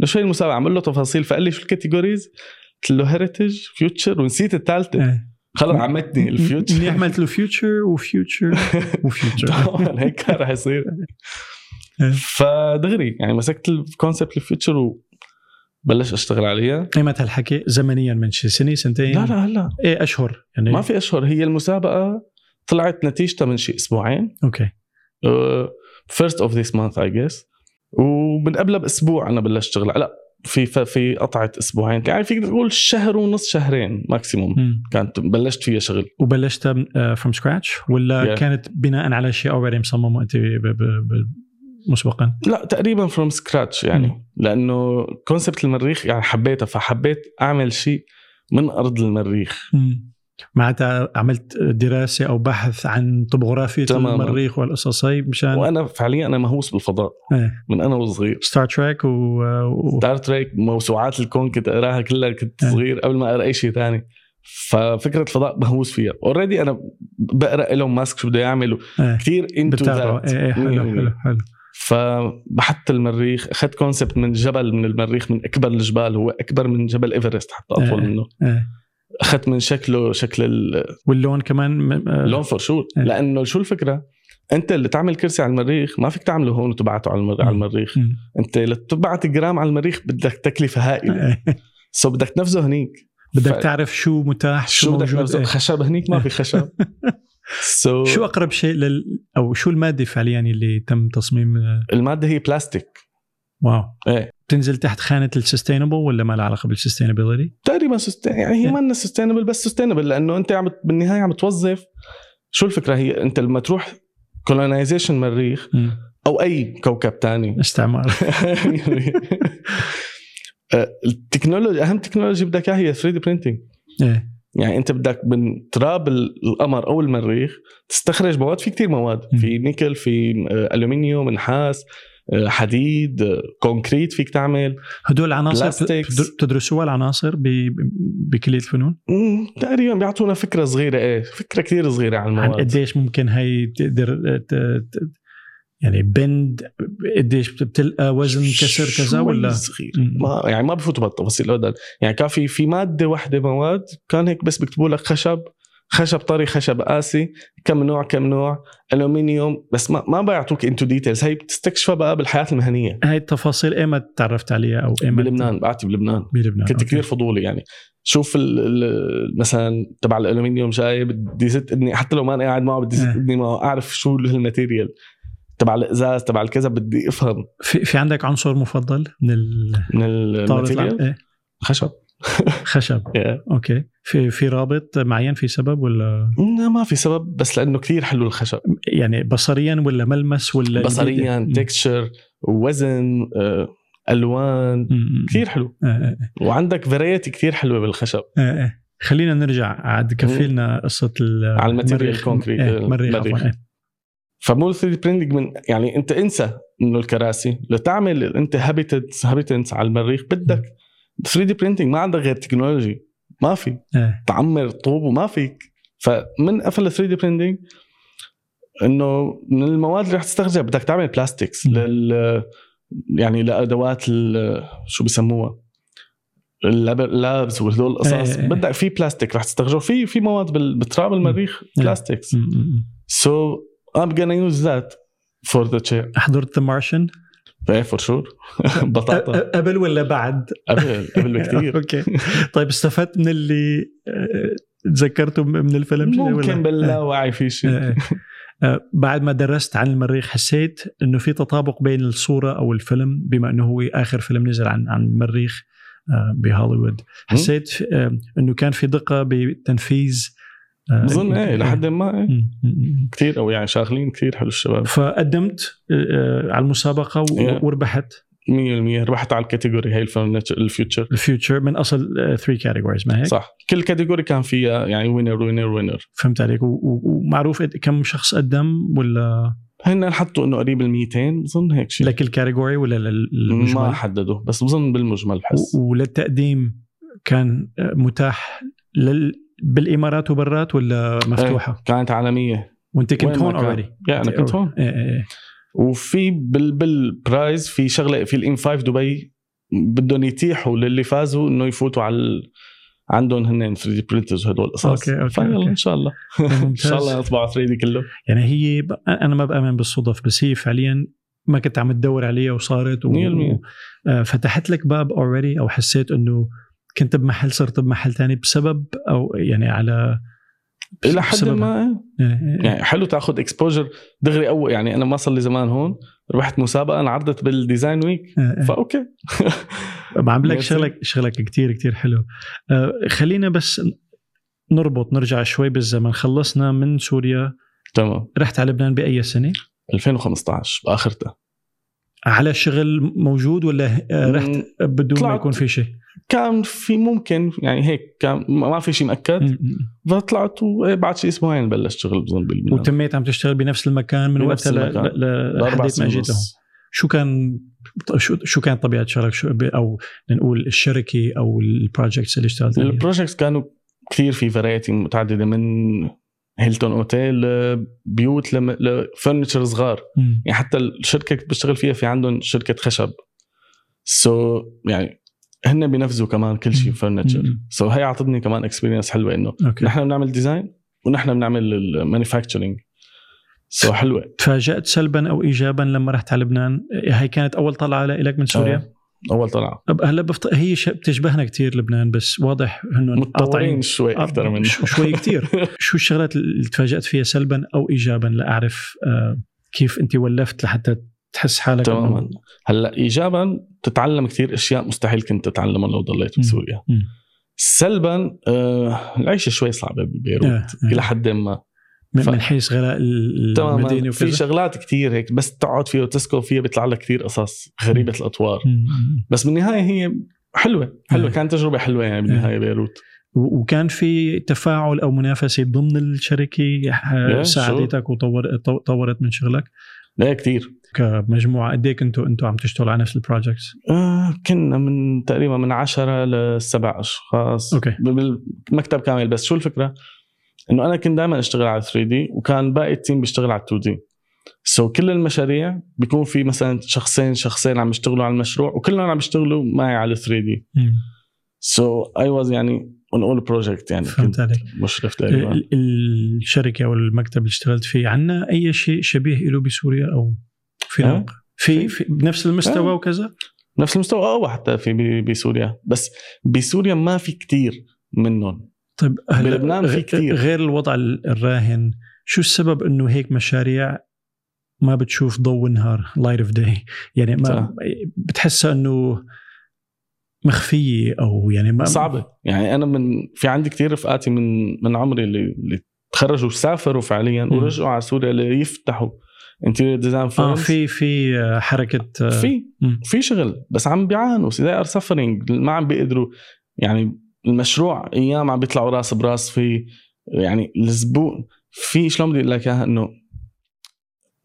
انه شو هي المسابقه عم بقول له تفاصيل فقال لي شو الكاتيجوريز قلت له هيريتج فيوتشر ونسيت الثالثه إيه. خلص عمتني الفيوتشر منيح عملت له فيوتشر وفيوتشر وفيوتشر طبعا هيك رح يصير إيه. فدغري يعني مسكت الكونسبت الفيوتشر وبلشت اشتغل عليها ايمتى هالحكي زمنيا من شي سنه سنتين لا لا هلا ايه اشهر يعني ما في اشهر هي المسابقه طلعت نتيجتها من شي أه، اسبوعين اوكي فيرست اوف ذيس مانث اي جيس ومن قبلها باسبوع انا بلشت اشتغل لا في في قطعه اسبوعين يعني فيك تقول شهر ونص شهرين ماكسيموم مم. كانت بلشت فيها شغل وبلشتها فروم سكراتش ولا Yeah. كانت بناء على شيء اوريدي مصممه انت ب- ب- ب- مسبقا لا تقريبا فروم سكراتش يعني مم. لانه كونسبت المريخ يعني حبيتها فحبيت اعمل شيء من ارض المريخ معناتها عملت دراسه او بحث عن طبوغرافيه تماماً. المريخ والقصص هي مشان وانا فعليا انا مهووس بالفضاء إيه. من انا وصغير ستار تريك و... و... ستار تريك موسوعات الكون كنت اقراها كلها كنت إيه. صغير قبل ما اقرا اي شيء ثاني ففكره الفضاء مهوس فيها اوريدي انا بقرا ايلون ماسك شو بده يعمل إيه. كثير انتو بتتابعه ذات ايه إيه، حلو حلو حلو فبحثت المريخ اخذت كونسبت من جبل من المريخ من اكبر الجبال هو اكبر من جبل ايفرست حتى اطول إيه. منه إيه. اخذت من شكله شكل ال- واللون كمان م- آه، لون فور شور إيه. لانه شو الفكره انت اللي تعمل كرسي على المريخ ما فيك تعمله هون وتبعته على المر- على مم. المريخ مم. انت لتبعت جرام على المريخ بدك تكلفه هائله إيه. سو بدك تنفذه هنيك بدك ف- تعرف شو متاح شو شو بدك موجود تنفذه إيه. خشب هنيك ما في خشب سو شو اقرب شيء لل او شو الماده فعليا اللي تم تصميم آه، الماده هي بلاستيك واو إيه. بتنزل تحت خانه السستينبل ولا ما لها علاقه بالسستينابيلتي؟ تقريبا سست... يعني هي إيه. ما سستينبل بس سستينبل لانه انت عم بت- بالنهايه عم توظف شو الفكره هي انت لما تروح كولونايزيشن مريخ او اي كوكب تاني يعني، استعمار آه، التكنولوجي اهم تكنولوجي بدك اياها هي 3 دي برينتنج ايه يعني انت بدك من تراب ال- القمر او المريخ تستخرج مواد في كتير مواد مم. في نيكل في آه، الومنيوم نحاس آه، حديد آه، كونكريت فيك تعمل هدول العناصر Plastics. بتدر- بتدرسوها العناصر ب- بكليه الفنون؟ مم، تقريبا بيعطونا فكره صغيره ايه فكره كتير صغيره عن عن إيه المواد قديش ممكن هي تقدر ت- ت- يعني بند قديش بت- بتلقى وزن كسر كذا شوي ولا صغير مم. ما يعني ما بفوتوا بالتفاصيل ابدا يعني كان في في ماده واحده مواد كان هيك بس بيكتبوا لك خشب خشب طري خشب قاسي كم نوع كم نوع الومنيوم بس ما ما بيعطوك انتو ديتيلز هي بتستكشفها بقى بالحياه المهنيه هاي التفاصيل ايمت تعرفت عليها او ايمت بلبنان بعتي بلبنان بلبنان إيه، كنت آه، أوكي. كثير فضولي يعني شوف ال- ال- مثلا تبع الالومنيوم جاي بدي زت ابني حتى لو ما انا قاعد معه بدي زت إيه. ابني معه اعرف شو هالماتيريال تبع الازاز تبع الكذا بدي افهم في, في عندك عنصر مفضل من ال- من طاولة الماتيريال العمل؟ إيه، خشب خشب إيه. اوكي في في رابط معين في سبب ولا لا، ما في سبب بس لانه كثير حلو الخشب يعني بصريا ولا ملمس ولا بصريا م- تكتشر وزن آه، الوان م- م- كثير حلو آه، آه، وعندك فرايتي كثير حلوه بالخشب آه، آه. خلينا نرجع عاد كفيلنا قصه ال- على الماتيريال آه، المريخ الكونكريت آه، إيه، المريخ المريخ. عفواً، إيه. فمو 3 دي برينتنج من يعني انت انسى انه الكراسي لتعمل انت هابيتنس هابيتنس على المريخ بدك 3 دي برينتنج ما عندك غير تكنولوجي ما في إيه. تعمر طوب وما فيك فمن قفل 3 دي برينتنج انه من المواد اللي رح تستخرجها بدك تعمل بلاستكس مم. لل يعني لادوات ال- شو بسموها اللابس وهدول القصص إيه. بدك في بلاستيك رح تستخرجه في في مواد بال- بتراب المريخ إيه. بلاستكس م- م- م. So I'm gonna use that for the chair. حضرت ذا مارشن ايه فور شور بطاطا قبل ولا بعد؟ قبل قبل بكثير اوكي طيب استفدت من اللي آه، تذكرته من- من الفيلم شيء ولا؟ ممكن باللاوعي في شيء آه، آه، بعد ما درست عن المريخ حسيت انه في تطابق بين الصوره او الفيلم بما انه هو اخر فيلم نزل عن عن المريخ آه، بهوليوود حسيت آه، انه كان في دقه بتنفيذ آه، بظن ايه لحد ما م- م- م. كثير او يعني شاغلين كثير حلو الشباب 100% فقدمت آه، على المسابقه و- Yeah. وربحت ربحت على الكاتيجوري هي الفرنتش- الفيوتشر الفيوتشر من اصل 3 كاتيجوريز ما هيك صح كل كاتيجوري كان فيها يعني وينر وينر وينر فهمت عليك و- و- ومعروف قد- كم شخص قدم ولا هن حطوا انه قريب ال 200 بظن هيك شيء لكل كاتيجوري ولا لل- للمجمل ما حددوا بس بظن بالمجمل بحس و- وللتقديم كان متاح لل... بالامارات وبرات ولا مفتوحه؟ ايه. كانت عالميه وانت كنت إيه. وين ما هون كان. اوريدي يعني انا كنت هون ايه ايه وفي بال بالبرايز في شغله في الام 5 دبي بدهم يتيحوا للي فازوا انه يفوتوا على ال... عندهم هن 3 دي برنترز هدول القصص أوكي، أوكي، فيلا أوكي. ان شاء الله إيه، ان شاء الله ممتاز يطبعوا 3 دي كله يعني هي ب... انا ما بامن بالصدف بس هي فعليا ما كنت عم تدور عليها وصارت و... 100%. آه، فتحت لك باب اوريدي او حسيت انه كنت بمحل صرت بمحل تاني بسبب او يعني على الى حد بسببها. ما إيه. يعني يعني حلو تاخذ اكسبوجر دغري اول يعني انا ما صار لي زمان هون ربحت مسابقه انعرضت بالديزاين ويك آه، آه. فاوكي ما عم لك ميرسي. شغلك شغلك كتير كتير حلو آه، خلينا بس نربط نرجع شوي بالزمن خلصنا من سوريا تمام رحت على لبنان باي سنه 2015 باخرتها على شغل موجود ولا آه، رحت مم، بدون ما طلعت. يكون في شيء كان في ممكن يعني هيك كان ما ما في شيء مؤكد م- م. فطلعت وبعد شيء اسبوعين بلشت شغل بظن بالميلان وتميت عم تشتغل بنفس المكان من بنفس وقتها ل- المكان. ل- ل- بأربع لحد ما سنين جيت لهون ونص. شو كان شو شو كانت طبيعه شغلك شو او نقول الشركه او البروجكتس اللي اشتغلت عليها البروجكتس كانوا كثير في فرايتي متعدده من هيلتون اوتيل لبيوت لم- لفرنتشر صغار مم. يعني حتى الشركه اللي بشتغل فيها في عندهم شركه خشب سو so, يعني هن بينفذوا كمان كل شيء مم. فرنتشر مم. سو so, هي اعطتني كمان اكسبيرينس حلوه انه اوكي نحن بنعمل ديزاين ونحن بنعمل المانيفاكتشرنج سو so, حلوه تفاجات سلبا او ايجابا لما رحت على لبنان هاي كانت اول طلعه لك من سوريا آه، اول طلعه أب- هلا بفط... هي ش... بتشبهنا كتير لبنان بس واضح انه متطلعين شوي اكثر من آه، يعني شوي كتير شو الشغلات اللي تفاجات فيها سلبا او ايجابا لاعرف آه، كيف انت ولفت لحتى تحس حالك إنه- تماما هلا ايجابا تتعلم كثير اشياء مستحيل كنت تتعلمها لو ضليت بسوريا مم. سلبا آه العيشه شوي صعبه ببيروت آه، آه. الى حد ما من- ف- من حيث غلاء ال- المدينه تماما في وكذا شغلات كثير هيك بس تقعد فيها وتسكن فيها بيطلع لك كثير قصص غريبه الاطوار مم، مم. بس بالنهايه هي حلوه حلوه آه. كانت تجربه حلوه يعني بالنهايه بيروت و- وكان في تفاعل او منافسه ضمن الشركه آه، Yeah, ساعدتك وطورت طورت من شغلك لا كثير كمجموعه قد ايه كنتوا انتوا عم تشتغلوا على نفس البروجكتس؟ آه كنا من تقريبا من عشرة لسبع اشخاص أوكي. بالمكتب كامل بس شو الفكره؟ انه انا كنت دائما اشتغل على 3 دي وكان باقي التيم بيشتغل على 2 دي سو so كل المشاريع بيكون في مثلا شخصين شخصين عم يشتغلوا على المشروع وكلهم عم يشتغلوا معي على 3 دي سو اي واز يعني اون اول بروجكت يعني فهمت كنت عليك. إيه. مشرف تقريبا ال- ال- الشركه او المكتب اللي اشتغلت فيه عنا اي شيء شبيه له بسوريا او في آه. نوع- في, في بنفس المستوى آه. وكذا؟ نفس المستوى او حتى في ب- بسوريا بس بسوريا ما في كتير منهم طيب هلا بلبنان في غ- كتير. غير الوضع ال- الراهن شو السبب انه هيك مشاريع ما بتشوف ضوء نهار لايت اوف داي يعني صح. ما بتحسها انه مخفيه او يعني ما صعبه يعني انا من في عندي كتير رفقاتي من من عمري اللي, اللي تخرجوا وسافروا فعليا مم. ورجعوا على سوريا ليفتحوا انتيريور ديزاين اه فيرمز في في آه، حركه آه، في مم. في شغل بس عم بيعانوا they ار سفرنج ما عم بيقدروا يعني المشروع ايام عم بيطلعوا راس براس في يعني الزبون في شلون بدي اقول لك اياها انه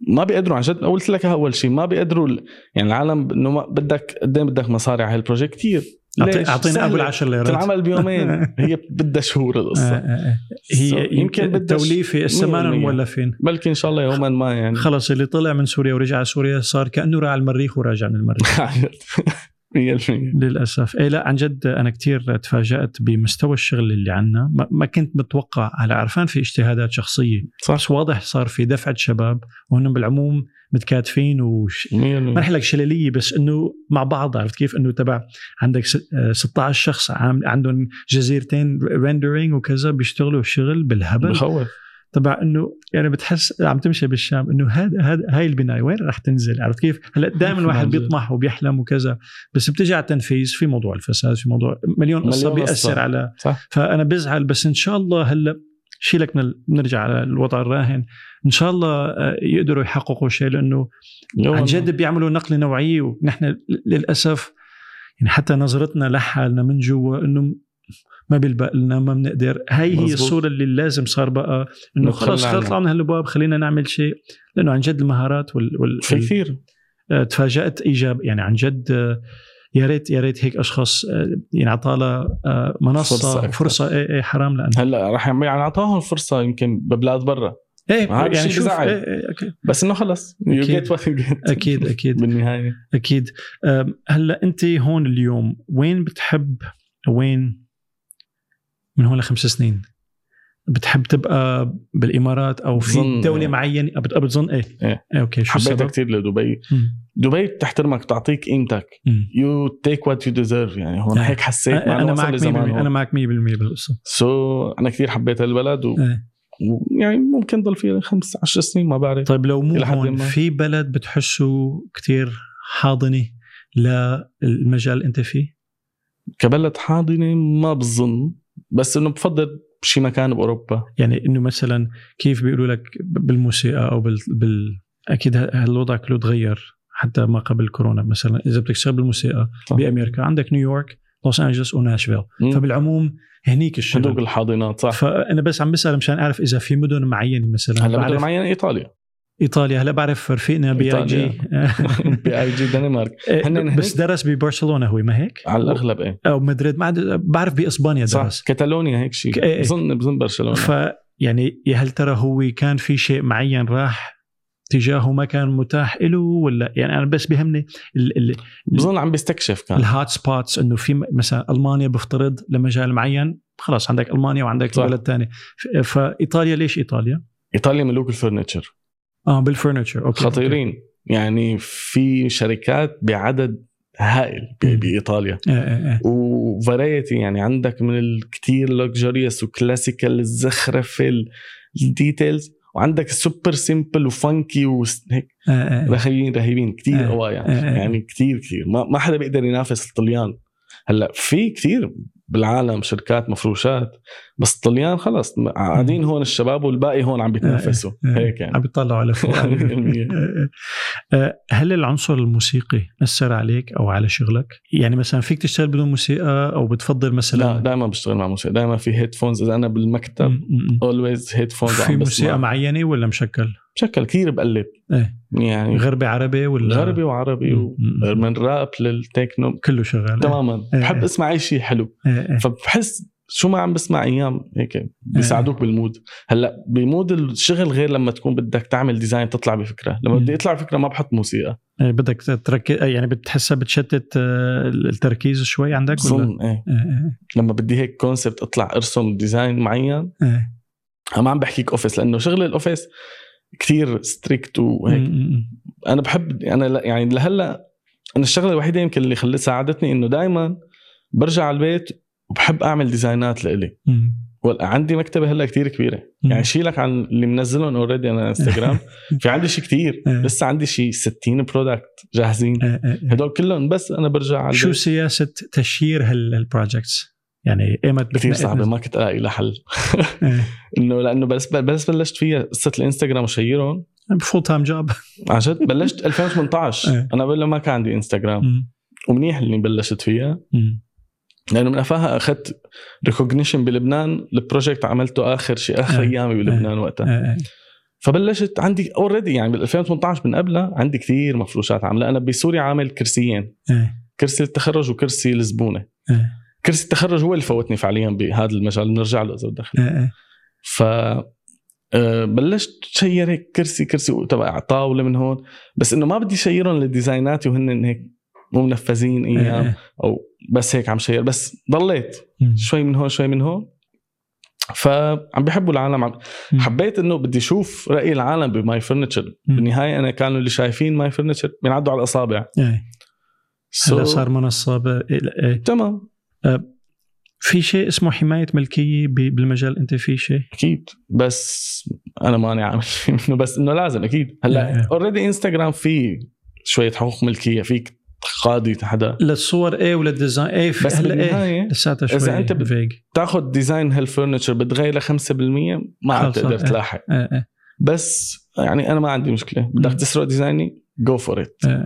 ما بيقدروا عن جد قلت لك إياها اول شيء ما بيقدروا ال- يعني العالم انه ما بدك قد إيه بدك مصاري على هالبروجكت كثير أعطي- اعطينا ابو العشر ليرات تنعمل بيومين هي بدها شهور آه، القصه آه، آه. هي So يمكن يمكن بدها توليفه هسه ما 100%. مولفين بلكي ان شاء الله يوما ما يعني خلص اللي طلع من سوريا ورجع على سوريا صار كانه راح على المريخ وراجع من المريخ 100% للاسف اي لا عن جد انا كثير تفاجات بمستوى الشغل اللي عندنا ما, ما كنت متوقع هلا عرفان في اجتهادات شخصيه صح بس واضح صار في دفعه شباب وهن بالعموم متكاتفين وش ما 100% رح لك شلليه بس انه مع بعض عرفت كيف انه تبع عندك س- آه، 16 شخص عام عندهم جزيرتين ريندرينج وكذا بيشتغلوا شغل بالهبل بخوف تبع انه يعني بتحس عم تمشي بالشام انه هذا هذا هاي البنايه وين رح تنزل عرفت كيف؟ هلا دائما الواحد عن جد. بيطمح وبيحلم وكذا بس بتجي على التنفيذ في موضوع الفساد في موضوع مليون قصه مليون قصة. بياثر على صح. فانا بزعل بس ان شاء الله هلا شيلك من ال- نرجع على الوضع الراهن ان شاء الله آه، يقدروا يحققوا شيء لانه يوماً عن ما. جد بيعملوا نقله نوعيه ونحن ل- للاسف يعني حتى نظرتنا لحالنا من جوا انه ما بيلبق لنا ما بنقدر هاي هي مزبوط. الصوره اللي لازم صار بقى انه نتخلى خلص عنها. خلص طلعنا من هالبواب خلينا نعمل شيء لانه عن جد المهارات وال, وال... في كثير آه، تفاجات ايجاب يعني عن جد آه، يا ريت يا ريت هيك اشخاص آه، ينعطى لها آه، فرصة منصه أكثر. فرصه اي اي إيه، حرام لانه هلا راح يعني اعطاهم فرصه يمكن ببلاد برا ايه هذا الشيء شوف، بزعل. إيه، إيه، أوكي. بس انه خلص يو أكيد. جيت وات اكيد اكيد بالنهايه اكيد أم، هلا انت هون اليوم وين بتحب وين من هون لخمس سنين بتحب تبقى بالامارات او في بظن- دوله معينه أه، بت- بظن ايه إيه. إيه، اوكي شو حبيتها السبب؟ كثير لدبي مم. دبي بتحترمك بتعطيك قيمتك مم. يو تيك وات يو ديزيرف يعني هون إيه. هيك حسيت مع انا إنه وصل معك 100% لزمان انا هون. معك 100% بالقصه سو انا كثير حبيت هالبلد و... إيه. ويعني ممكن ضل فيها خمس عشر سنين ما بعرف طيب لو مو إلى حد هون ما. في بلد بتحسه كتير حاضنه للمجال اللي انت فيه؟ كبلد حاضنه ما بظن بس انه بفضل شي مكان باوروبا يعني انه مثلا كيف بيقولوا لك ب- بالموسيقى او بال, بال... اكيد ه- هالوضع كله تغير حتى ما قبل كورونا مثلا اذا بدك تشتغل بالموسيقى صح. بامريكا عندك نيويورك لوس انجلوس وناشفيل مم. فبالعموم هنيك هدوك الشغل الحاضنات صح فانا بس عم بسال مشان اعرف اذا في مدن معينه مثلا هلا بدنا بعرف معين ايطاليا ايطاليا هلا بعرف رفيقنا بي اي جي بي اي جي دنمارك هنن بس درس ببرشلونه هو ما هيك؟ على الاغلب ايه او مدريد ما عاد- بعرف باسبانيا صح درس كتالونيا هيك ك- إيه، شيء إيه. بظن بظن برشلونه ف يعني يا هل ترى هو كان في شيء معين راح تجاهه ما كان متاح له ولا يعني انا بس بهمني ال- ال- بظن عم بيستكشف كان الهوت سبوتس انه في م- مثلا المانيا بفترض لمجال معين خلاص عندك المانيا وعندك صح. بلد ثاني فايطاليا ليش ايطاليا؟ ايطاليا ملوك الفرنتشر اه بالفرنتشر اوكي خطيرين يعني في شركات بعدد هائل ب- مم. بايطاليا أوكي. آه آه آه. وفرايتي يعني عندك من الكتير لكجريوس وكلاسيكال الزخرفه ال- الديتيلز وعندك السوبر سيمبل وفانكي وهيك آه آه آه. رهيبين رهيبين كتير آه، قوا آه، آه. يعني يعني كتير كتير ما, ما حدا بيقدر ينافس الطليان هلا في كتير بالعالم شركات مفروشات بس الطليان خلص إيه. م- قاعدين هون الشباب والباقي هون عم بيتنافسوا آه. هيك يعني عم بيطلعوا لفوق إيه، آه، هل العنصر الموسيقي اثر عليك او على شغلك؟ يعني مثلا فيك تشتغل بدون موسيقى او بتفضل مثلا لا دائما بشتغل مع موسيقى دائما في هيدفونز اذا انا بالمكتب م- م- م. اولويز هيدفونز في عم موسيقى بسمع معينه ولا مشكل؟ بشكل كثير بقلب إيه. يعني غربي عربي ولا غربي وعربي و... م- م- م. من راب للتكنو كله شغال تماما إيه. بحب اسمع اي شيء حلو إيه، إيه. فبحس شو ما عم بسمع ايام هيك بيساعدوك بالمود هلا بمود الشغل غير لما تكون بدك تعمل ديزاين تطلع بفكره لما مم. بدي اطلع بفكره ما بحط موسيقى إيه، بدك تركز يعني بتحسها بتشتت آه، التركيز شوي عندك ولا؟ بظن ايه إيه، إيه، لما بدي هيك كونسبت اطلع ارسم ديزاين معين إيه. ما عم بحكيك اوفيس لانه شغل الاوفيس كتير ستريكت وهيك م- م- م. انا بحب انا لا- يعني لهلا انا الشغله الوحيده يمكن اللي خلت ساعدتني انه دائما برجع على البيت وبحب اعمل ديزاينات لإلي م. ولا- عندي مكتبه هلا كتير كبيره م. يعني شيلك عن اللي منزلهم اوريدي انا على انستغرام في عندي شيء كتير إيه. لسه عندي شيء 60 برودكت جاهزين إيه، إيه، إيه. هدول كلهم بس انا برجع على شو البيت. سياسه تشيير هالبروجكتس؟ يعني ايمت كثير بتنقي- صعبه ما كنت الاقي لها حل إيه. انه لانه بس بس بلشت فيها قصه الانستغرام وشيرهم فول تايم جوب عن جد بلشت 2018 إيه. انا قبل ما كان عندي انستغرام ومنيح اللي بلشت فيها لانه من قفاها اخذت ريكوجنيشن بلبنان البروجكت عملته اخر شيء اخر إيه. ايامي بلبنان وقتها فبلشت عندي اوريدي يعني بال 2018 من قبلها عندي كثير مفروشات عامله انا بسوريا عامل كرسيين كرسي التخرج وكرسي الزبونه إيه. كرسي التخرج هو اللي فوتني فعليا بهذا المجال بنرجع له اذا بدك إيه، ف آه، بلشت شير هيك كرسي كرسي تبع طاوله من هون بس انه ما بدي شيرهم لديزايناتي وهن هيك مو منفذين إيه، آه. ايام او بس هيك عم شير بس ضليت إيه. شوي من هون شوي من هون فعم بيحبوا العالم عم مم. حبيت انه بدي اشوف راي العالم بماي فرنتشر بالنهايه انا كانوا اللي شايفين ماي فرنتشر بينعدوا على الاصابع إيه، هلا So- صار منصه ب... إيه، إيه. تمام في شيء اسمه حمايه ملكيه ب... بالمجال انت في شيء اكيد بس انا ماني عامل شيء منه بس انه لازم اكيد إيه، إيه. هلا اوريدي انستغرام في شويه حقوق ملكيه فيك قاضي حدا للصور ايه وللديزاين ايه في... بس هلا ايه بالنهايه لساتها شوي إذا أنت بت- فيج تاخذ ديزاين هالفرنتشر بتغيره 5% ما عاد خلص، تقدر إيه. تلاحق إيه، إيه، بس يعني انا ما عندي مشكله بدك مم. تسرق ديزايني جو فور ات إيه.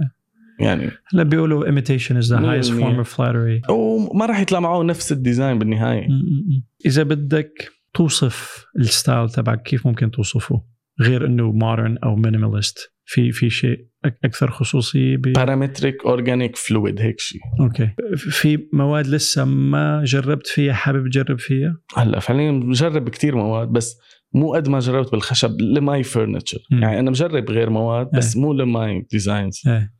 يعني هلا بيقولوا imitation is the مية highest بالمية. form of flattery وما راح يطلع معه نفس الديزاين بالنهايه م- م- م. اذا بدك توصف الستايل تبعك كيف ممكن توصفه غير انه modern او minimalist في في شيء أك- اكثر خصوصيه ب... طيب. بارامتريك اورجانيك فلويد هيك شيء اوكي في مواد لسه ما جربت فيها حابب تجرب فيها هلا فعليا مجرب كتير مواد بس مو قد ما جربت بالخشب لماي فرنتشر مم. يعني انا مجرب غير مواد بس مو لماي ديزاينز ايه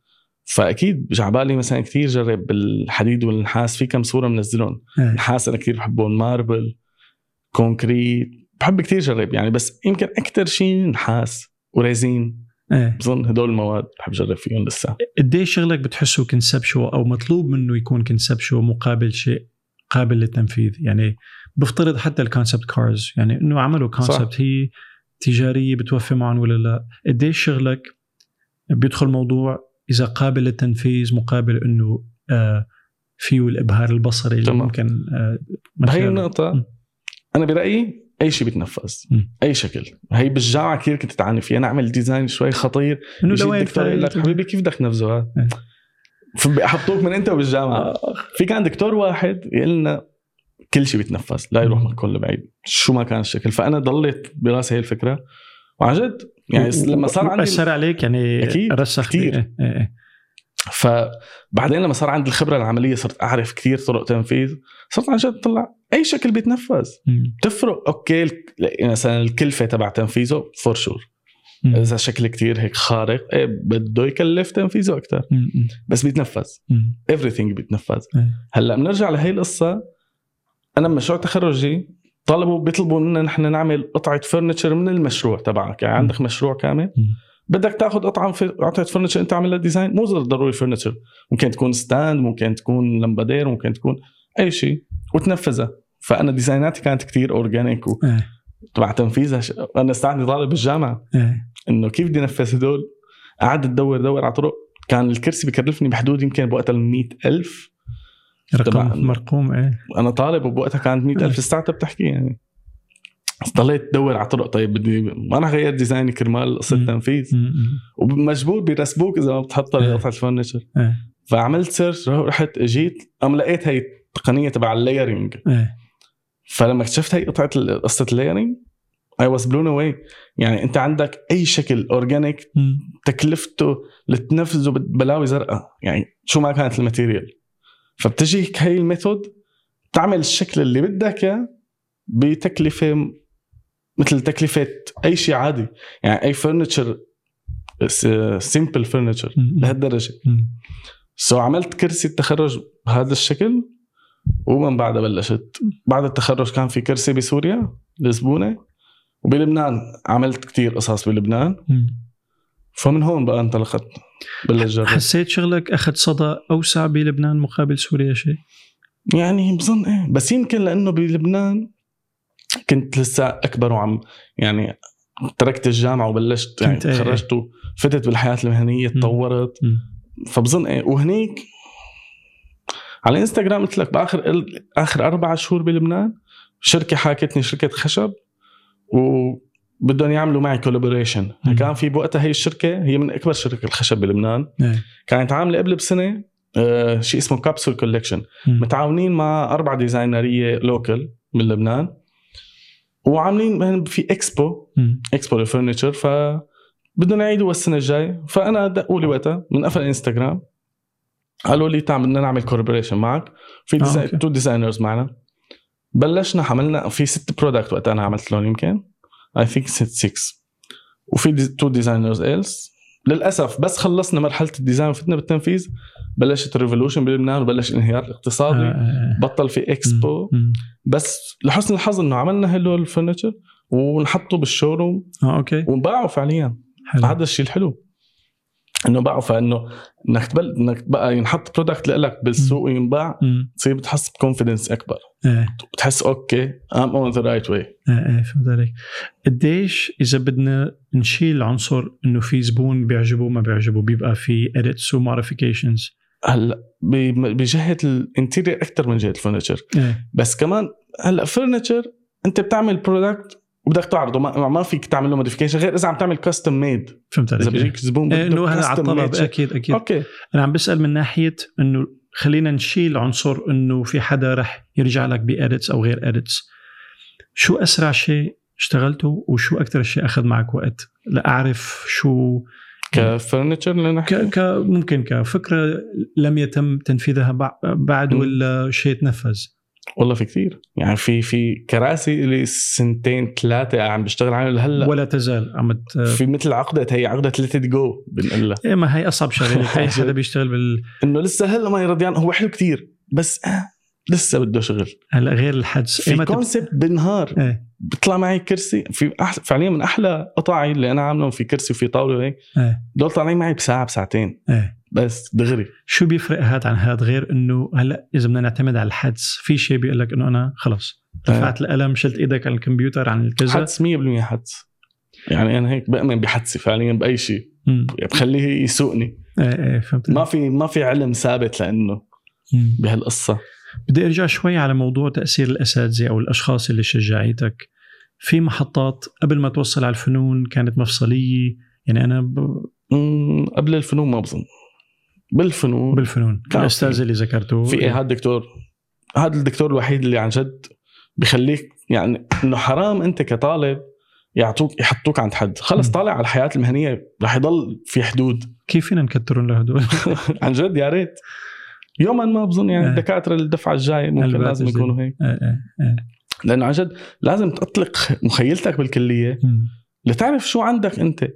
فاكيد جعبالي مثلا كتير جرب بالحديد والنحاس في كم صوره منزلهم ايه نحاس انا كتير بحبهم ماربل كونكريت بحب كتير جرب يعني بس يمكن اكثر شيء نحاس وريزين ايه بظن هدول المواد بحب جرب فيهم لسه قديش شغلك بتحسه كونسبشوال او مطلوب منه يكون كونسبشوال مقابل شيء قابل للتنفيذ يعني بفترض حتى الكونسبت كارز يعني انه عملوا كونسبت هي تجاريه بتوفي معهم ولا لا قديش شغلك بيدخل موضوع اذا قابل للتنفيذ مقابل انه آه فيه الابهار البصري اللي تمام. ممكن آه من بهي خلاله. النقطة م. أنا برأيي أي شيء بيتنفذ م. أي شكل هي بالجامعة كثير كنت تعاني فيها أنا أعمل ديزاين شوي خطير انه يجي لوين الدكتور يقول لك فايت؟ حبيبي كيف بدك تنفذه إيه. هذا؟ فبحطوك من أنت وبالجامعة آه، في كان دكتور واحد يقول لنا كل شيء بيتنفذ لا يروح مكان لبعيد شو ما كان الشكل فأنا ضلت براسي هي الفكرة وعن جد يعني و- لما صار و- عندي اثر عليك يعني أكيد، رسخ كتير. بي- إيه، إيه، إيه. فبعدين لما صار عندي الخبره العمليه صرت اعرف كثير طرق تنفيذ صرت عن جد طلع اي شكل بيتنفذ مم. بتفرق اوكي الك- مثلا الكلفه تبع تنفيذه فور شور مم. اذا شكل كتير هيك خارق إيه بده يكلف تنفيذه اكثر مم. مم. بس بيتنفذ مم. everything بيتنفذ إيه. هلا بنرجع لهي القصه انا مشروع تخرجي طلبوا بيطلبوا منا نحن نعمل قطعه فرنتشر من المشروع تبعك يعني عندك مشروع كامل مم. بدك تاخذ قطعه فر- قطعه فرنتشر انت عاملها ديزاين مو ضروري فرنتشر ممكن تكون ستاند ممكن تكون لمبادير ممكن تكون اي شيء وتنفذها فانا ديزايناتي كانت كتير اورجانيك إيه. تبع تنفيذها ش... انا استعني طالب بالجامعه إيه. انه كيف بدي انفذ هدول قعدت ادور دور على طرق كان الكرسي بكلفني بحدود يمكن بوقتها ال ألف طبعاً. رقم مرقوم ايه انا طالب وبوقتها كانت مئة ألف الساعة بتحكي يعني ضليت ادور على طرق طيب بدي ما انا غير ديزايني كرمال قصه مم. تنفيذ مم. مم. ومجبور بيرسبوك اذا ما بتحطها إيه. لقطعه الفرنتشر إيه. فعملت سيرش رحت اجيت ام لقيت هي التقنيه تبع اللايرنج ايه فلما اكتشفت هي قطعه ال- قصه اللايرنج اي واز بلون اواي يعني انت عندك اي شكل اورجانيك مم. تكلفته لتنفذه بلاوي زرقاء يعني شو ما كانت الماتيريال فبتجيك هي الميثود تعمل الشكل اللي بدك اياه بتكلفه م- مثل تكلفه اي شيء عادي يعني اي فرنتشر سيمبل فرنتشر مم. لهالدرجه مم. سو عملت كرسي التخرج بهذا الشكل ومن بعدها بلشت بعد التخرج كان في كرسي بسوريا لزبونه وبلبنان عملت كتير قصص بلبنان مم. فمن هون بقى انطلقت بلش جرب حسيت شغلك اخذ صدى اوسع بلبنان مقابل سوريا شيء يعني بظن ايه بس يمكن لانه بلبنان كنت لسه اكبر وعم يعني تركت الجامعه وبلشت يعني كنت إيه. تخرجت وفتت بالحياه المهنيه تطورت مم. فبظن ايه وهنيك على انستغرام قلت لك باخر اخر اربع شهور بلبنان شركه حاكتني شركه خشب وبدهم يعملوا معي كولابوريشن مم. كان في بوقتها هي الشركه هي من اكبر شركه الخشب بلبنان إيه. كانت عامله قبل بسنه آه، شيء اسمه كابسول كولكشن مم. متعاونين مع اربع ديزاينريه لوكل من لبنان وعاملين هن في اكسبو مم. اكسبو للفرنتشر ف بدهم يعيدوا السنه الجاي فانا دقوا لي وقتها من قفل انستغرام قالوا لي تعال بدنا نعمل كوربوريشن معك في آه، ديزاين أوكي. تو ديزاينرز معنا بلشنا عملنا في ست برودكت وقتها انا عملت لهم يمكن اي ثينك ست 6 وفي تو ديزاينرز ايلس للاسف بس خلصنا مرحله الديزاين وفتنا بالتنفيذ بلشت الريفولوشن بلبنان وبلش الانهيار آه، الاقتصادي آه، بطل في اكسبو آه. مم. بس لحسن الحظ انه عملنا هدول الفرنتشر ونحطه بالشوروم اه اوكي وانباعوا فعليا حلو هذا الشيء الحلو انه باعوا فانه انك تبل انك بقى ينحط برودكت لك بالسوق وينباع مم. تصير بتحس بكونفدنس اكبر ايه بتحس اوكي ام اون ذا رايت واي ايه ايه فهمت عليك قديش اذا بدنا نشيل عنصر انه في زبون بيعجبه ما بيعجبه بيبقى في اديتس وموديفيكيشنز هلا ب- بجهه الانتيرير اكثر من جهه الفرنتشر ايه بس كمان هلا فرنتشر انت بتعمل برودكت وبدك تعرضه ما, ما فيك تعمل له موديفيكيشن غير اذا عم تعمل كاستم ميد فهمت اذا عليك إيه. بيجيك زبون إيه، بده انه هذا على custom الطلب made شيء. اكيد اكيد اوكي انا عم بسال من ناحيه انه خلينا نشيل عنصر انه في حدا رح يرجع لك باديتس او غير اديتس شو اسرع شيء اشتغلته وشو اكثر شيء اخذ معك وقت لاعرف شو كفرنتشر ك... لنحكي ك... ممكن كفكره لم يتم تنفيذها بع- بعد م. ولا شيء تنفذ والله في كتير يعني في في كراسي اللي سنتين ثلاثه عم بشتغل عليها لهلا ولا تزال عم ت... في مثل عقدة هي عقدة ليت جو بنقول لها ايه ما هي اصعب شغله لك. اي عن حدا جد. بيشتغل بال انه لسه هلا ما هي رضيان هو حلو كتير بس آه، لسه بده شغل هلا غير الحجز في إيمتى بت- كونسبت بالنهار إيه. بيطلع معي كرسي في أح... فعليا من احلى قطعي اللي انا عاملهم في كرسي وفي طاوله وهيك إيه. دول طالعين معي بساعه بساعتين إيه. بس دغري شو بيفرق هذا عن هذا غير انه هلا اذا بدنا نعتمد على الحدس في شيء بيقول لك انه انا خلص آه. رفعت القلم شلت ايدك عن الكمبيوتر عن الكذا حدس 100% حدس يعني انا هيك بامن بحدسي فعليا باي شيء يعني مم. بخليه يسوقني ايه ايه فهمت ما في ما في علم ثابت لانه مم. بهالقصه بدي ارجع شوي على موضوع تاثير الاساتذه او الاشخاص اللي شجعيتك في محطات قبل ما توصل على الفنون كانت مفصليه يعني انا ب- أمم، قبل الفنون ما بظن بالفنون بالفنون إيه. نعم. الاستاذ اللي ذكرته في ايه هذا الدكتور هذا الدكتور الوحيد اللي عن جد بخليك يعني انه حرام انت كطالب يعطوك يحطوك عند حد خلص مم. طالع على الحياه المهنيه رح يضل في حدود كيف فينا نكترهم لهدول عن جد يا ريت يوما ما بظن يعني إيه. الدكاتره الدفعه الجايه ممكن البات لازم الجديد. يكونوا هيك إيه إيه. لانه عن جد لازم تطلق مخيلتك بالكليه مم. لتعرف شو عندك انت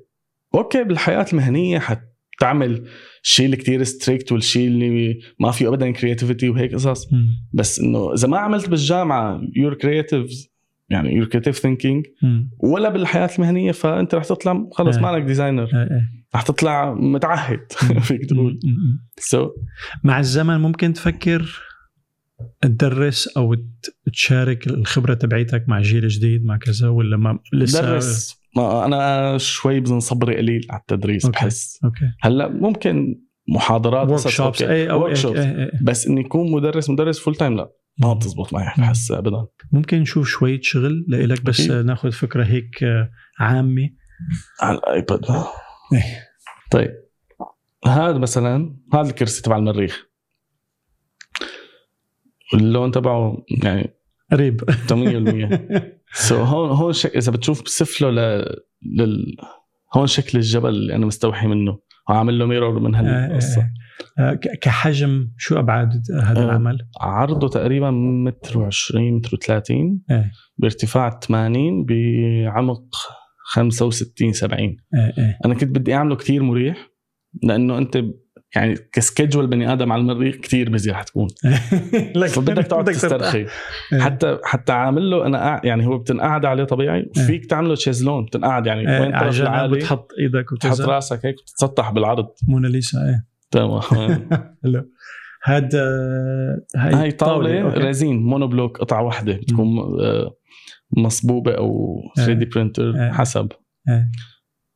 اوكي بالحياه المهنيه حتعمل شيء اللي كثير ستريكت والشيء اللي ما فيه ابدا كرياتيفيتي وهيك قصص مم. بس انه اذا ما عملت بالجامعه يور كرياتيف يعني يور كرياتيف ثينكينج مم. ولا بالحياه المهنيه فانت رح تطلع خلص إيه. مالك ديزاينر إيه إيه. رح تطلع متعهد فيك تقول مم. مم. سو so, مع الزمن ممكن تفكر تدرس او ت- تشارك الخبره تبعيتك مع جيل جديد مع كذا ولا ما لسه درس ما انا شوي بظن صبري قليل على التدريس أوكي. بحس اوكي هلا ممكن محاضرات ورك قصص شوبس أوكي. اي او workshops. إيه، إيه، إيه. بس اني يكون مدرس مدرس فول تايم لا ما بتزبط معي بحس ابدا ممكن نشوف شوية شغل لإلك بس أكيد. ناخذ فكرة هيك آه، عامة على الايباد إيه. طيب هذا مثلا هذا الكرسي تبع المريخ اللون تبعه يعني قريب إيه، 8% سو so هون هون شك... اذا بتشوف بسفله ل... لل هون شكل الجبل اللي انا مستوحي منه عامل له ميرور من هالقصه إيه، آه، ك- كحجم شو أبعاد هذا آه. العمل؟ عرضه تقريبا متر و20 متر و30 إيه. بارتفاع 80 بعمق 65 70 إيه، إيه. انا كنت بدي اعمله كتير مريح لانه انت ب- يعني كسكجول بني ادم على المريخ كتير بزي رح تكون لكن فبدك تقعد تسترخي إيه. حتى حتى عامل له انا قاع- يعني هو بتنقعد عليه طبيعي وفيك تعمله شيزلون بتنقعد يعني إيه، وين على طرف جنب العالي بتحط إيدك بتحط وكذا راسك هيك بتتسطح بالعرض موناليسا إيه تمام حلو هاد آه، هاي, هاي طاوله أوكي. ريزين مونوبلوك قطعه واحده بتكون آه، مصبوبه او 3 دي إيه. برينتر حسب إيه.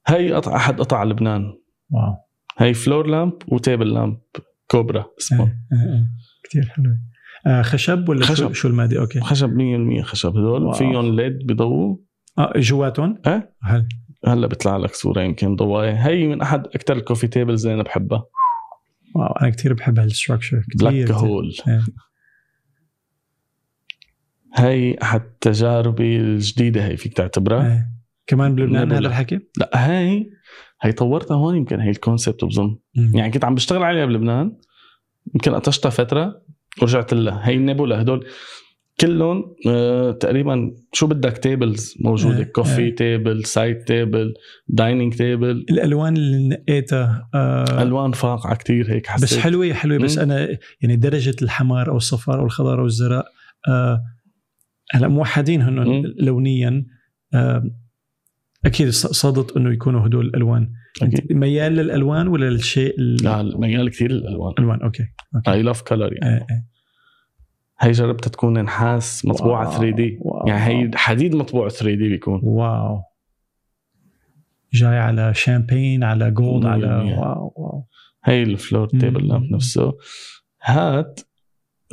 هاي قطعه احد قطع لبنان واو هاي فلور لامب وتيبل لامب كوبرا اسمه إيه، إيه، إيه. كتير حلو آه، خشب ولا شو- خشب. شو المادة أوكي خشب 100% خشب واو. هدول فيهم ليد بضووا آه، جواتهم؟ إيه. هل هلا بيطلع لك صوره يمكن ضوايه هي من احد اكثر الكوفي تيبلز اللي انا بحبها واو انا كثير بحب هالستراكشر كثير بلاك كتير. هول إيه. هي احد تجاربي الجديده هي فيك تعتبرها إيه. كمان بلبنان نابلة. هذا الحكي؟ لا هي هي طورتها هون يمكن هي الكونسبت بظن يعني كنت عم بشتغل عليها بلبنان يمكن قطشتها فتره ورجعت لها هي النابولا هدول كلهم آه تقريبا شو بدك تيبلز موجوده إيه، كوفي إيه. تيبل سايد تيبل دايننج تيبل الالوان اللي نقيتها آه الوان فاقعه كتير هيك حسيت بس حلوه حلوه بس مم. انا يعني درجه الحمار او الصفار او الخضار او الزرق آه، هلا موحدين هن مم. لونيا آه، اكيد ص- صادت انه يكونوا هدول الالوان أكيد. ميال للالوان ولا للشيء ال- لا ميال كثير الالوان الالوان اوكي اي لاف كلر يعني آه، آه. هي جربتها تكون نحاس مطبوعه واو، آه. 3 دي واو. يعني هي حديد مطبوع 3 دي بيكون واو جاي على شامبين على جولد مية على مية. واو واو هي الفلور مم. تيبل لامب نفسه هات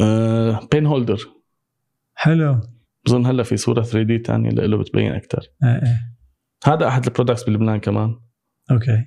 آه بين هولدر حلو آه، بظن هلا في صوره 3 دي ثانيه له بتبين اكثر آه. هذا احد البرودكتس بلبنان كمان اوكي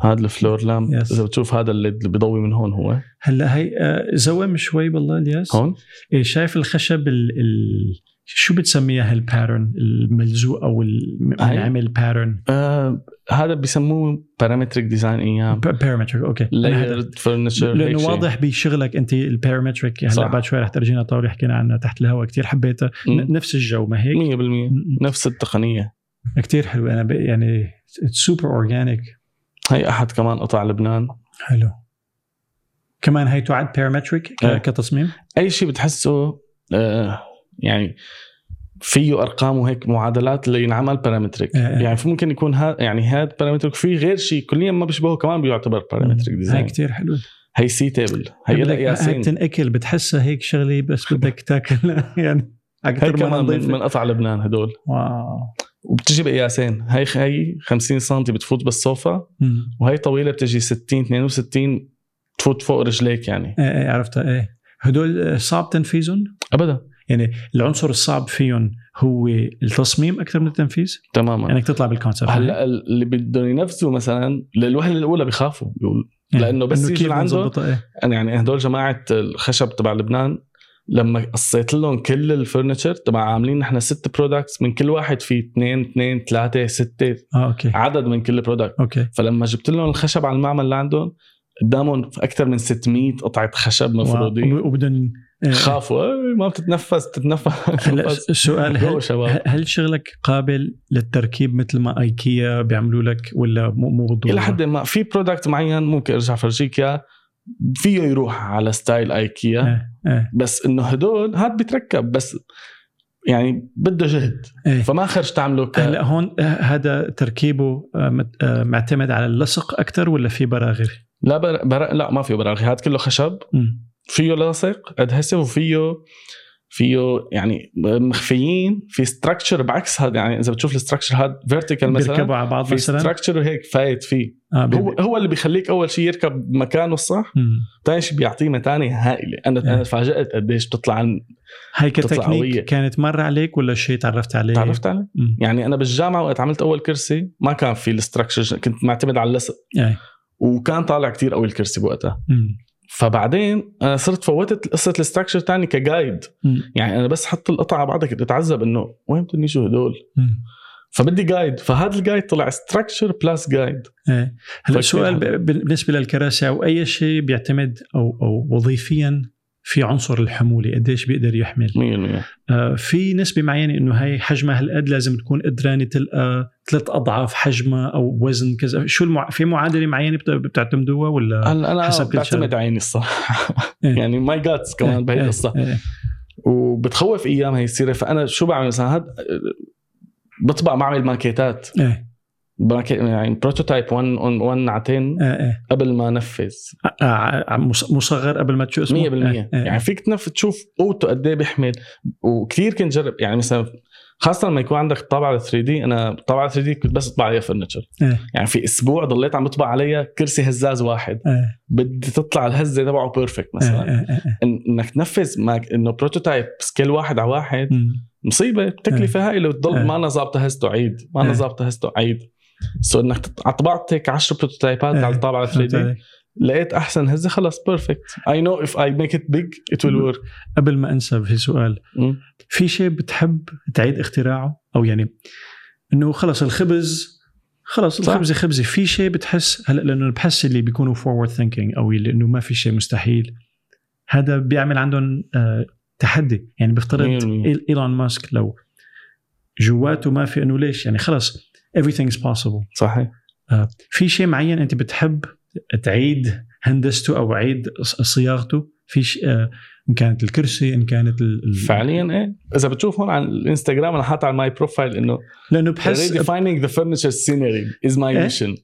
هذا الفلور لامب Yes. اذا بتشوف هذا اللي اللي بيضوي من هون هو هلا هي آه، زوم شوي بالله الياس هون إيه، شايف الخشب ال ال شو بتسميها هالباترن الملزوق او هاي؟ المنعمل باترن آه هذا بيسموه بارامتريك ديزاين ايام بارامتريك اوكي أنا هذا- لايرد فرنتشر لانه واضح بشغلك انت البارامتريك هلا صح. بعد شوي رح ترجينا طاوله حكينا عنها تحت الهواء كثير حبيتها ن- نفس الجو ما هيك 100% م- نفس التقنيه م. كتير حلو انا ب- يعني سوبر اورجانيك هي احد كمان قطع لبنان حلو كمان هي تعد بيرامتريك إيه. كتصميم اي شيء بتحسه آه، يعني فيه ارقام وهيك معادلات اللي ينعمل بارامتريك إيه إيه. يعني ممكن يكون ها يعني هذا بارامتريك في غير شيء كليا ما بيشبهه كمان بيعتبر بارامتريك هاي ديزاين كثير حلوه هي سي تيبل هي لها بدك- هاي قياسين بتنأكل بتحسها هيك شغله بس بدك تاكلها يعني هي اكثر ما كمان من, نظيفه من قطع لبنان هدول واو وبتجي بقياسين هي هي 50 سم بتفوت بالصوفة مم. وهي طويله بتجي 60 62 تفوت فوق رجليك يعني ايه ايه عرفتها ايه هدول آه، صعب تنفيذهم ابدا يعني العنصر الصعب فيهم هو التصميم اكثر من التنفيذ تماما انك تطلع بالكونسبت هلا اللي بدهم ينفذوا مثلا للوهله الاولى بيخافوا بيقولوا لأنه بس يجي إيه. كيف لعنده- بنظبطها، إيه. أنا يعني هدول جماعه الخشب تبع لبنان لما قصيت لهم كل الفرنتشر تبع عاملين نحن ست برودكتس من كل واحد في اثنين اثنين ثلاثه سته اه اوكي عدد من كل برودكت اوكي فلما جبت لهم الخشب على المعمل اللي عندهم قدامهم اكثر من 600 قطعه خشب مفروضين وب- وبدهم إيه. خافوا "أي، ما بتتنفس تتنفس هلا السؤال جو هل شباب هل شغلك قابل للتركيب مثل ما ايكيا بيعملوا لك ولا مو مو بالضروره؟ الى حد ما في برودكت معين ممكن ارجع فرجيك اياه فيه يروح على ستايل ايكيا ايه ايه بس انه هدول هاد بيتركب بس يعني بده جهد إيه. فما خرج تعمله ك... هلا هون آه، هذا تركيبه آه، مت- آه، معتمد على اللصق اكثر ولا في براغي؟ لا بر... بر... لا ما فيه براغي هاد كله خشب مم. فيه لاصق ادهسيف وفيه فيه يعني مخفيين في ستراكشر بعكس هاد يعني اذا بتشوف الستراكشر هاد فيرتيكال مثلا بيركبوا على بعض في مثلا ستراكشر هيك فايت فيه آه، بي- هو هو اللي بيخليك اول شيء يركب مكانه الصح مم. ثاني شيء بيعطيه متانه هائله انا إيه. انا تفاجات قديش بتطلع عن هي بتطلع كتكنيك قوية. كانت مر عليك ولا شيء تعرفت عليه؟ تعرفت عليه مم. يعني انا بالجامعه وقت عملت اول كرسي ما كان في الستراكشر كنت معتمد على اللصق إيه. وكان طالع كتير قوي الكرسي بوقتها مم. فبعدين انا صرت فوتت قصه الستراكشر تاني كجايد مم. يعني انا بس حط القطعه على بعضها كنت اتعذب انه وين بدهم يجوا هدول مم. فبدي جايد فهذا الجايد طلع ستراكشر بلس جايد ايه هلا فكتير السؤال حلو. ب- بالنسبه للكراسي او اي شيء بيعتمد او او وظيفيا في عنصر الحموله قديش بيقدر يحمل 100% آه، في نسبه معينه انه هي حجمها هالقد لازم تكون قدرانه تلقى ثلاث اضعاف حجمها او وزن كذا شو المع... في معادله معينه بت- بتعتمدوها ولا هلا انا حسب كل بعتمد شغلة. عيني الصراحه إيه. يعني ماي جاتس كمان بهي إيه، القصه إيه، وبتخوف ايام هي السيره فانا شو بعمل مثلا هاد بطبع بعمل ماكيتات ايه ماكي- يعني بروتوتايب 1 اون 1 على 10 ايه ايه قبل ما انفذ 100% آه، آه، آه، مص- مصغر قبل ما تشو اسمه إيه، إيه. يعني فيك تنف تشوف قوته قد ايه بيحمل وكثير كنت جرب يعني مثلا خاصة لما يكون عندك طابعة 3 دي انا طابعة 3 دي كنت بس اطبع عليها فرنتشر إيه. يعني في اسبوع ضليت عم بطبع عليها كرسي هزاز واحد إيه، بدي تطلع الهزة تبعه بيرفكت مثلا إيه، إيه، إيه. إن- انك تنفذ ماك انه بروتوتايب سكيل واحد على واحد مم. مصيبه تكلفه هائله إيه. وتضل ما انا ظابطه هزته عيد ما إيه. انا ظابطه هزته عيد سو انك تط- طبعت هيك 10 بروتوتايبات إيه. على الطابعه 3 فهمت دي عليك. لقيت احسن هزه خلص بيرفكت اي نو اف اي ميك ات بيج ات ويل ورك قبل ما انسى في سؤال في شيء بتحب تعيد اختراعه او يعني انه خلص الخبز خلص صح. الخبزه خبزه في شيء بتحس هلا لانه بحس اللي بيكونوا فورورد ثينكينج او اللي انه ما في شيء مستحيل هذا بيعمل عندهم آه تحدي يعني بفترض 100%. إيل- ايلون ماسك لو جواته ما في انه ليش يعني خلص everything is possible صحيح في شيء معين انت بتحب تعيد هندسته او عيد ص- صياغته في شيء آه، ان كانت الكرسي ان كانت ال- ال- فعليا ايه اذا بتشوف هون على الانستغرام انا حاطط على ماي بروفايل انه لانه بحس redefining the furniture scenery is my إيه؟ mission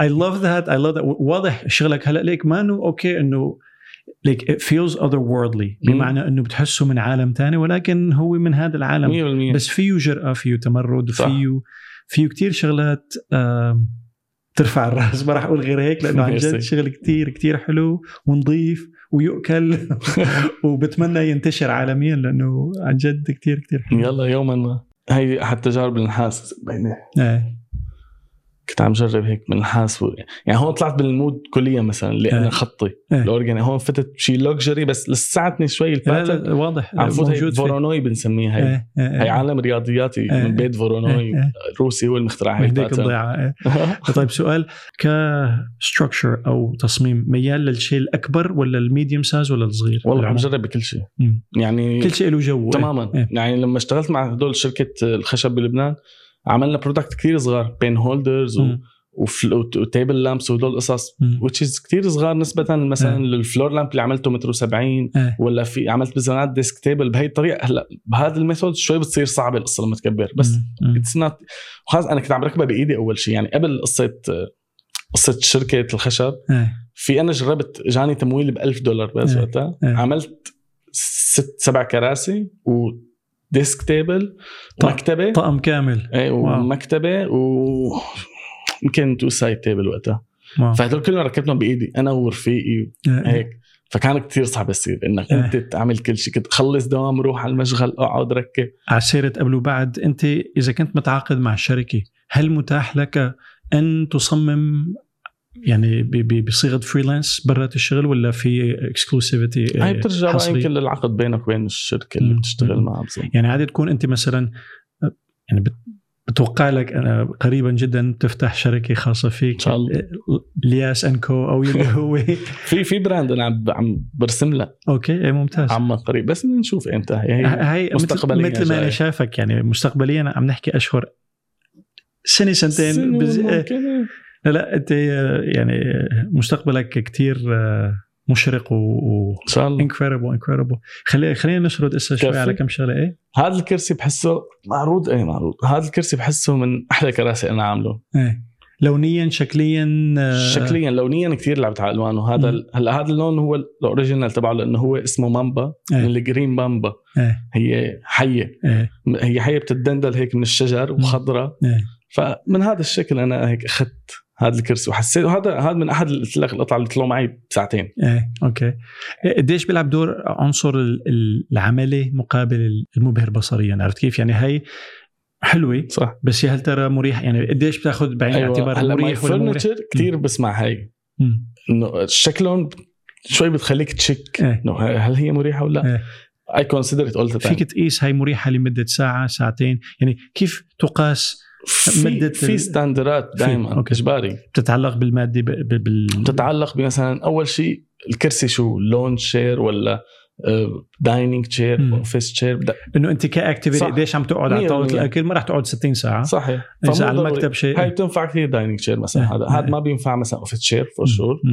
اي لاف ذات اي لاف واضح شغلك هلا ليك ما انه اوكي انه ليك ات فيلز اذر وورلدلي مم. بمعنى انه بتحسه من عالم تاني ولكن هو من هذا العالم 100% بس فيه جرأة فيه تمرد صح. فيه فيه كتير شغلات آم، ترفع الراس ما راح اقول غير هيك لانه عن جد ميرسي. شغل كتير كتير حلو ونظيف ويؤكل وبتمنى ينتشر عالميا لانه عن جد كتير كتير حلو يلا يوما ما هي احد تجارب النحاس بيني ايه كنت عم جرب هيك من الحاس و... يعني هون طلعت بالمود كليا مثلا اللي إيه. انا خطي إيه. الاورجاني هون فتت شيء لوكجري بس لساتني شوي لا الباترن لا واضح عم فوت هي موجود في- فورونوي بنسميها هي إيه، إيه، هي إيه. عالم رياضياتي إيه. من بيت فورونوي إيه، إيه. روسي هو اللي مخترع هي بهديك الباترن الضيعه إيه. طيب سؤال كستركشر او تصميم ميال للشيء الاكبر ولا الميديوم سايز ولا الصغير؟ والله عم بالعمر؟ جرب بكل شيء مم. يعني كل شيء له جو تماما إيه. يعني لما اشتغلت مع هدول شركه الخشب بلبنان عملنا برودكت كثير صغار بين هولدرز و... مم. وتيبل لامبس وهدول القصص مم. which is كثير صغار نسبة مثلا إيه. للفلور لامب اللي عملته متر و70 إيه. ولا في عملت بزنات ديسك تيبل بهي الطريقة هلا بهذا الميثود شوي بتصير صعبة القصة المتكبر بس مم. مم. اتس نوت وخلص انا كنت عم ركبها بايدي اول شيء يعني قبل قصة قصة شركة الخشب إيه. في انا جربت جاني تمويل ب 1000 دولار بس إيه. وقتها إيه. عملت ست سبع كراسي وديسك تيبل طق- ومكتبة طقم كامل ايه واو. ومكتبه و يمكن تو سايد تيبل وقتها واو. فهدول كلهم ركبتهم بايدي انا ورفيقي إيه. هيك فكان كتير صعب يصير انك إيه. انت تعمل كل شيء كنت خلص دوام روح على المشغل اقعد ركب على سيرة قبل وبعد أنت إذا كنت متعاقد مع شركة هل متاح لك أن تصمم يعني ب- ب- بصيغة فريلانس برات الشغل ولا في اكسكلوسيفيتي هاي بترجع بقى إيه، حصري. يمكن للعقد بينك وبين الشركه اللي مم. بتشتغل مم. معها بظن يعني عادي تكون أنت مثلا يعني بت- بتوقع لك أنا قريبا جدا تفتح شركة خاصة فيك إن شاء إيه. الله. لياس أنكو أو يلي هو في في براند انا عم عم برسم لها أوكي إيه ممتاز عما قريب بس بدنا نشوف امتى هي هاي مثل, مستقبلياً مثل ما أنا جاي. شافك يعني مستقبليا عم نحكي أشهر سنة سنتين إيه. سنة بز- ممكن. لا لا انت يعني مستقبلك كتير آه، مشرق و ان شاء الله انكريدبل انكريدبل خلي خلينا نشرد هسه شوي كفي. على كم شغله ايه هذا الكرسي بحسه معروض اي معروض هذا الكرسي بحسه من احلى كراسي انا عامله ايه لونيا شكليا آه، شكليا لونيا كثير لعبت على الوانه هذا مم. هلا هذا اللون هو الاوريجينال تبعه لانه هو اسمه مامبا إيه. من الجرين مامبا ايه هي حيه ايه هي حيه بتتدندل هيك من الشجر وخضراء إيه. فمن هذا الشكل انا هيك اخذت هذا الكرسي وحسيت وهذا هذا من احد قلت لك القطع اللي طلعوا معي بساعتين ايه اوكي إيه، قديش بيلعب دور عنصر ال- ال- العملي مقابل المبهر بصريا عرفت كيف يعني هي حلوه صح بس يا هل ترى مريح يعني قديش بتاخذ بعين الاعتبار أيوة. هلا ماي مريح ولا مو مريح فرنتشر كثير بسمع هاي مم. انه شكلهم شوي بتخليك تشك إيه. انه هل هي مريحه ولا لا إيه. اي كونسيدر ات اول ذا فيك تقيس هاي مريحه لمده ساعه ساعتين يعني كيف تقاس مدة في, في ال- ستاندرات دائما أوكي. اجباري بتتعلق بالماده ب... ب... بال... بتتعلق بمثلا اول شيء الكرسي شو لون شير ولا آه، دايننج مم. تشير اوفيس تشير انه انت كاكتيفيتي صح. قديش عم تقعد على مية طاوله بالمية. الاكل ما رح تقعد 60 ساعه صح. صحيح اذا على فمو ضروري. المكتب شيء هاي بتنفع كثير دايننج تشير مثلا إيه. هذا هذا ما بينفع مثلا اوفيس تشير فور شور م-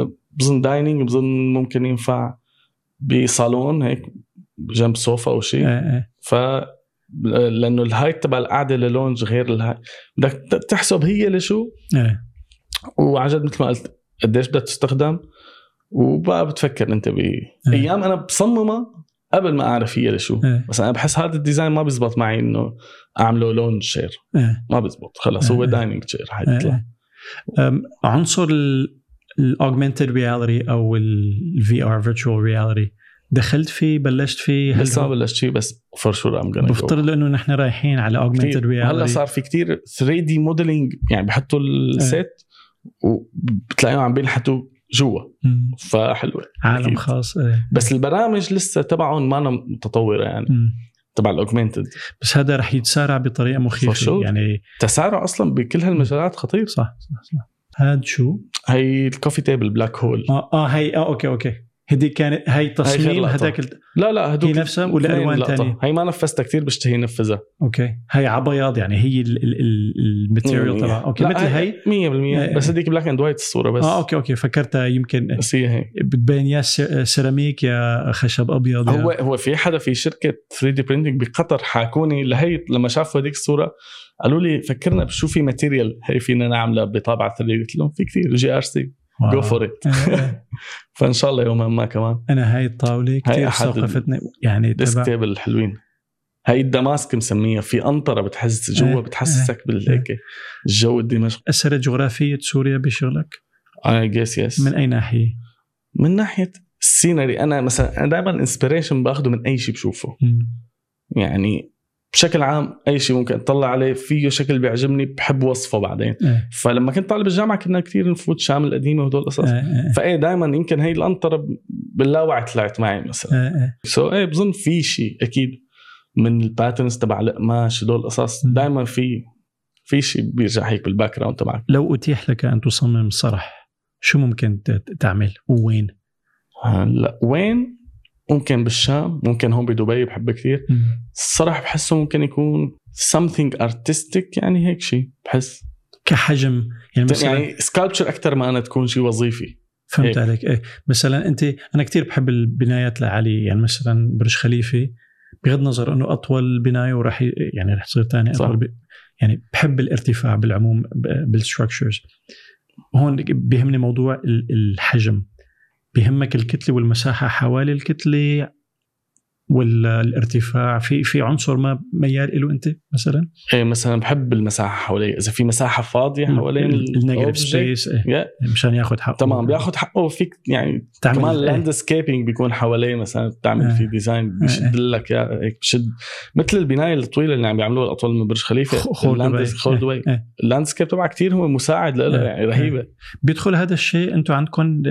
م- بظن دايننج بظن ممكن ينفع بصالون هيك جنب سوفا او شيء إيه، إيه. ف لانه الهايت تبع القعده للونج غير الهايت بدك ت- تحسب هي لشو إيه. وعن جد مثل ما قلت قديش بدها تستخدم وبقى بتفكر انت ب ايام انا بصممها قبل ما اعرف هي لشو إيه. بس انا بحس هذا الديزاين ما بيزبط معي انه اعمله لونج شير إيه. ما بيزبط خلص هو إيه. دايننج شير حيطلع إيه. أم، عنصر الاوجمانتد رياليتي او الفي ار فيرتشوال رياليتي دخلت فيه بلشت فيه هل لسه ما هو- بلشت شيء بس فور شور ام بفترض انه نحن رايحين على اوجمانتد هلا رياليتي صار في كتير 3 دي موديلينج يعني بحطوا إيه. السيت وبتلاقيهم عم بينحتوا جوا فحلوه عالم أكيد. خاص إيه. بس البرامج لسه تبعهم ما متطوره يعني م. تبع الاوجمانتد بس هذا رح يتسارع بطريقه مخيفه sure. يعني تسارع اصلا بكل هالمجالات خطير صح صح صح هاد شو هي الكوفي تيبل بلاك هول اه اه هي اه اوكي اوكي هدي كانت هي هاي غير تصميم لقطة. هداك الت... لا لا هدول هي نفسها ولا اثنين ألوان لقطة. تانية؟ هي ما نفذتها كثير بشتهي ينفذها اوكي هي على بياض يعني هي ال- ال- ال- الماتيريال تبعها اوكي يعني لا، مثل هي 100% بس هديك بلاك اند وايت الصوره بس اه اوكي اوكي فكرتها يمكن بس هي هيك بتبين يا س- سيراميك يا خشب ابيض يا- هو هو في حدا في شركه 3 دي برينتنج بقطر حاكوني لهي لما شافوا هذيك الصوره قالوا لي فكرنا بشو في ماتيريال هي فينا نعملها بطابعه 3 دي قلت لهم في كثير جي ار سي واو. جو فور ات إيه، إيه. فان شاء الله يوما ما كمان انا هاي الطاوله كثير أحد ال- استوقفتني يعني ديسك تبع تيبل الحلوين هي الدماسك مسميها في انطره بتحس جوا إيه، بتحسسك بالهيك الجو الدمشق اثرت جغرافيه سوريا بشغلك اي جيس يس من اي ناحيه؟ من ناحيه السينري انا مثلا انا دائما الانسبريشن باخده من اي شيء بشوفه مم. يعني بشكل عام اي شيء ممكن اطلع عليه فيه شكل بيعجبني بحب وصفه بعدين إيه، فلما كنت طالب الجامعه كنا كثير نفوت شام القديمه وهدول القصص إيه، إيه، فايه دائما يمكن هي القنطره باللاوعي طلعت معي مثلا إيه، إيه. سو ايه بظن في شيء اكيد من الباترنز تبع القماش هدول القصص مم. دائما في في شيء بيرجع هيك بالباك جراوند تبعك لو اتيح لك ان تصمم صرح شو ممكن ت- تعمل ووين؟ هلا وين ممكن بالشام ممكن هون بدبي بحب كثير الصراحه بحسه ممكن يكون something artistic يعني هيك شيء بحس كحجم يعني مثلا يعني يعني سكالبتشر اكثر ما انا تكون شيء وظيفي فهمت هيك. عليك ايه مثلا انت انا كثير بحب البنايات لعلي يعني مثلا برج خليفه بغض النظر انه اطول بنايه وراح ي- يعني رح تصير ثاني صح. اطول ب... يعني بحب الارتفاع بالعموم بالستركشرز هون بيهمني موضوع ال- الحجم بيهمك الكتله والمساحه حوالي الكتله والارتفاع في في عنصر ما ميال له انت مثلا إيه مثلا بحب المساحه حوالي اذا في مساحه فاضيه حوالين النيجاتيف الobject، سبيس yeah. إيه. مشان ياخذ حقه تمام بياخذ حقه فيك يعني تعمل- كمان إيه. اللاند سكيبنج بيكون حواليه مثلا إيه. بتعمل فيه ديزاين بشد لك يا هيك بشد مثل البنايه الطويله اللي عم بيعملوها الاطول من برج خليفه اللاند- خولدوي خولدوي اللاند سكيب تبعها كثير هو مساعد لها إيه. يعني رهيبه بيدخل هذا الشيء انتم عندكم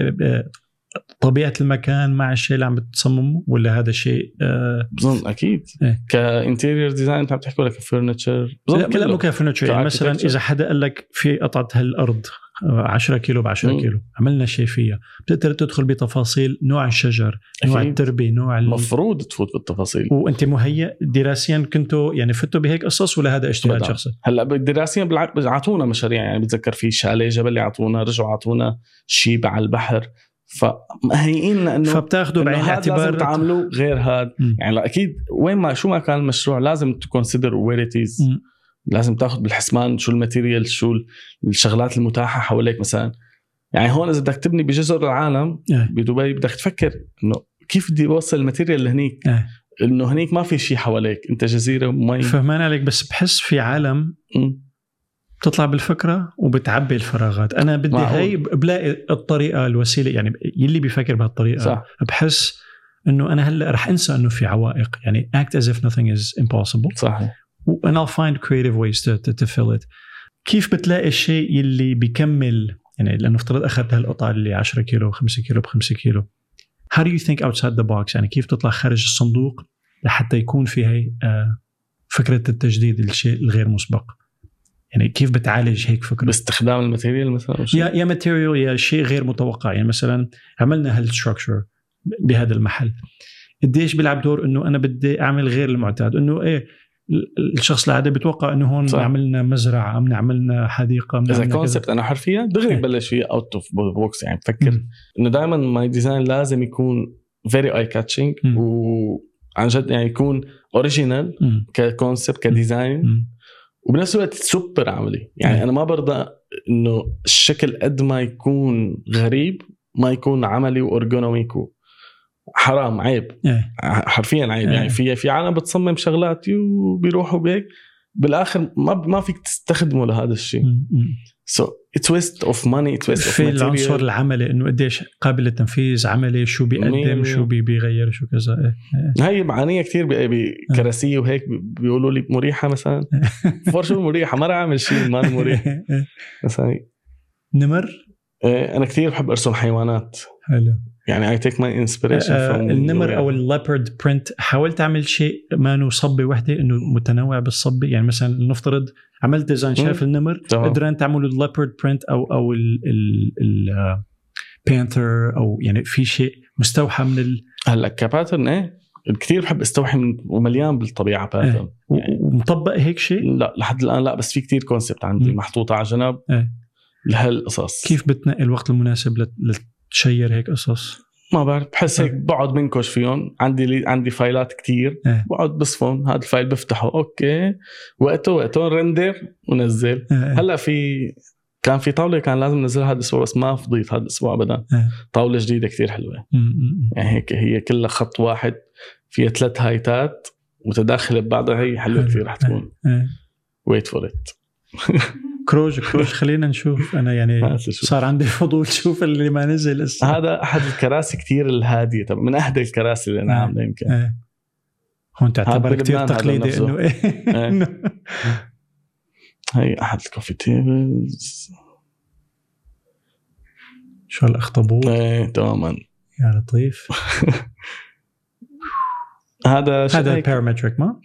طبيعه المكان مع الشيء اللي عم بتصمموا ولا هذا شيء آه، بظن اكيد إيه. كانتيريور ديزاين انت عم تحكي ولا كفرنتشر لا بظن لا مو كله كفرنتشر يعني مثلا كarchitecture. اذا حدا قال لك في قطعه هالارض آه، 10 كيلو ب 10 مم. كيلو عملنا شيء فيها بتقدر تدخل بتفاصيل نوع الشجر نوع أكيد. التربه نوع ال... المفروض تفوت بالتفاصيل وانت مهيئ دراسيا كنتوا يعني فتوا بهيك قصص ولا هذا اجتهاد أبداً. شخصي؟ هلا دراسيا بالع- اعطونا مشاريع يعني بتذكر في شاليه جبلي اعطونا رجعوا اعطونا شيب على البحر فمهيئين انه فبتاخذوا إنه بعين هاد لازم الاعتبار تعملوا غير هاد مم. يعني لا اكيد وين ما شو ما كان المشروع لازم تكونسيدر وير مم. لازم تاخذ بالحسبان شو الماتيريال شو الشغلات المتاحه حواليك مثلا يعني هون اذا بدك تبني بجزر العالم إيه. بدبي بدك تفكر انه كيف بدي اوصل الماتيريال لهنيك إيه. انه هنيك ما في شيء حواليك انت جزيره مي فهمان عليك بس بحس في عالم مم. بتطلع بالفكره وبتعبي الفراغات انا بدي معقول. هي بلاقي الطريقه الوسيله يعني يلي بيفكر بهالطريقه صح بحس انه انا هلا رح انسى انه في عوائق يعني act as if nothing is impossible صحيح and I'll find creative ways to, to, to fill it كيف بتلاقي الشيء يلي بيكمل يعني لانه افترض اخذت هالقطعه اللي 10 كيلو 5 كيلو ب 5 كيلو how do you think outside the box يعني كيف تطلع خارج الصندوق لحتى يكون في هي آه، فكره التجديد الشيء الغير مسبق يعني كيف بتعالج هيك فكره باستخدام الماتيريال مثلا أو شيء. يا يا ماتيريال يا شيء غير متوقع يعني مثلا عملنا هالستركشر بهذا المحل قديش بيلعب دور انه انا بدي اعمل غير المعتاد انه ايه ال- الشخص العادي بيتوقع انه هون صح. عملنا مزرعه عم عملنا حديقه عم اذا نعملنا كذا. كونسبت انا حرفيا دغري إيه. ببلش فيه اوت اوف بوكس يعني بفكر مم. انه دائما ماي ديزاين لازم يكون فيري اي كاتشنج مم. وعن جد يعني يكون اوريجينال مم. ككونسبت كديزاين مم. وبنفس الوقت سوبر عملي إيه. يعني انا ما برضى انه الشكل قد ما يكون غريب ما يكون عملي وارجونوميكو حرام عيب إيه. حرفيا عيب إيه. يعني في في عالم بتصمم شغلات وبيروحوا بهيك بالاخر ما ما فيك تستخدمه لهذا الشيء مم. مم. سو اتس ويست اوف ماني اتس ويست اوف في العنصر ماتيريال العملي انه قديش قابل للتنفيذ عملي شو مية بيقدم مية. شو بي- بيغير شو كذا إيه. هاي معانيه كثير آه. بكراسيه وهيك بيقولوا لي مريحه مثلا فور شو مريحه ما رح اعمل شيء ما مريح إيه. مثلا نمر إيه، انا كثير بحب ارسم حيوانات حلو يعني اي تيك ماي انسبريشن آه، النمر او الليبرد برنت حاولت اعمل شيء ما نو صبي وحده انه متنوع بالصبي يعني مثلا نفترض عملت ديزاين شايف النمر تمام. قدران تعمل الليبرد برنت او او البانثر او يعني في شيء مستوحى من ال... هلا كباترن ايه كثير بحب استوحي من ومليان آه. بالطبيعه باترن و- ومطبق هيك شيء لا لحد الان لا بس في كتير كونسبت عندي مم. محطوطه على جنب إيه. لهالقصص كيف بتنقي الوقت المناسب لت- لتشير هيك قصص ما بعرف بحس هيك إيه. بقعد بنكش فيهم عندي لي عندي فايلات كتير إيه. بقعد بصفهم هذا الفايل بفتحه اوكي وقته وقته رندر ونزل هلا هلا في كان في طاوله كان لازم انزلها هذا الاسبوع بس ما فضيت هذا الاسبوع ابدا إيه. طاوله جديده كتير حلوه يعني هيك هي كلها خط واحد فيها ثلاث هايتات متداخله ببعضها هي حلوه حلو. إيه. كثير رح تكون ويت فور ات آه. كروج كروج خلينا نشوف انا يعني صار عندي فضول شوف اللي ما نزل لسه هذا احد الكراسي كثير الهاديه طب من اهدى الكراسي اللي انا آه. عامله يمكن إيه. هون تعتبر هاد كتير بلبنان هذا تقليدي نفسه. انه إيه. إيه. إنه هي احد الكوفي تيبلز شو هالاخطبوط ايه تماما يا لطيف هذا شيء هذا هيك 100% بارامتريك ما؟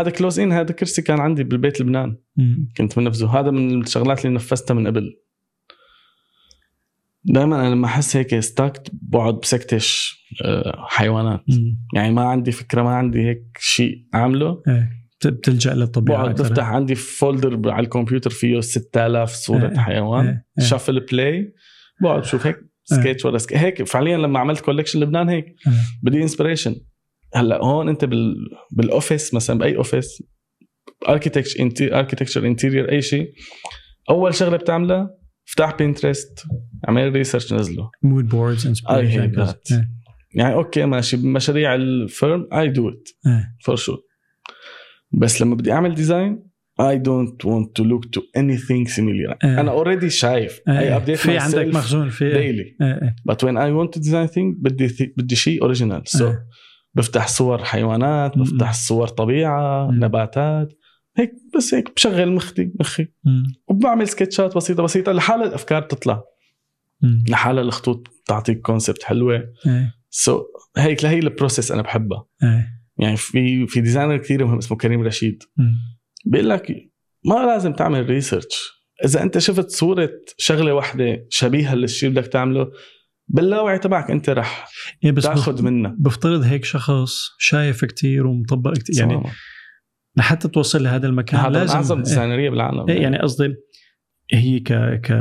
هذا كلوز ان هذا كرسي كان عندي بالبيت لبنان مم. كنت منفذه هذا من الشغلات اللي نفذتها من قبل دائما انا لما احس هيك ستاكت بقعد بسكتش آه، حيوانات مم. يعني ما عندي فكره ما عندي هيك شيء اعمله إيه. بت- بتلجا للطبيعه بقعد أكثر. بفتح عندي فولدر ب- على الكمبيوتر فيه 6000 صوره إيه. حيوان إيه. إيه. شافل بلاي بقعد شوف هيك سكتش ولا سكتش هيك فعليا لما عملت كولكشن لبنان هيك إيه. بدي انسبريشن هلا هون انت بال بالاوفيس مثلا باي اوفيس اركيتكتشر اركيتكتشر انتيرير اي شيء اول شغله بتعملها افتح بينترست اعمل ريسيرش نزله مود بوردز I hate that. إيه. يعني اوكي ماشي بمشاريع الفيرم اي دو ات إيه. فور شور بس لما بدي اعمل ديزاين اي دونت ونت تو لوك تو اني ثينج سيميلير انا اوريدي شايف اي ابديت إيه. في عندك مخزون في ديلي إيه، إيه. بس وين اي ونت تو ديزاين ثينج بدي ثي- بدي شيء اوريجينال سو إيه. بفتح صور حيوانات مم. بفتح صور طبيعه مم. نباتات هيك بس هيك بشغل مخي مخي مم. وبعمل سكتشات بسيطه بسيطه لحالها الافكار تطلع مم. لحالها الخطوط تعطيك كونسبت حلوه إيه. سو so, هيك لهي البروسيس انا بحبها إيه. يعني في في ديزاينر كثير مهم اسمه كريم رشيد مم. بيقول لك ما لازم تعمل ريسيرش اذا انت شفت صوره شغله واحده شبيهه للشيء اللي بدك تعمله باللاوعي تبعك انت رح إيه، بس تاخذ منها بفترض هيك شخص شايف كتير ومطبق كتير يعني تماماً. لحتى توصل لهذا المكان هذا من لازم اعظم ديزاينريه بالعالم إيه، يعني قصدي هي ك...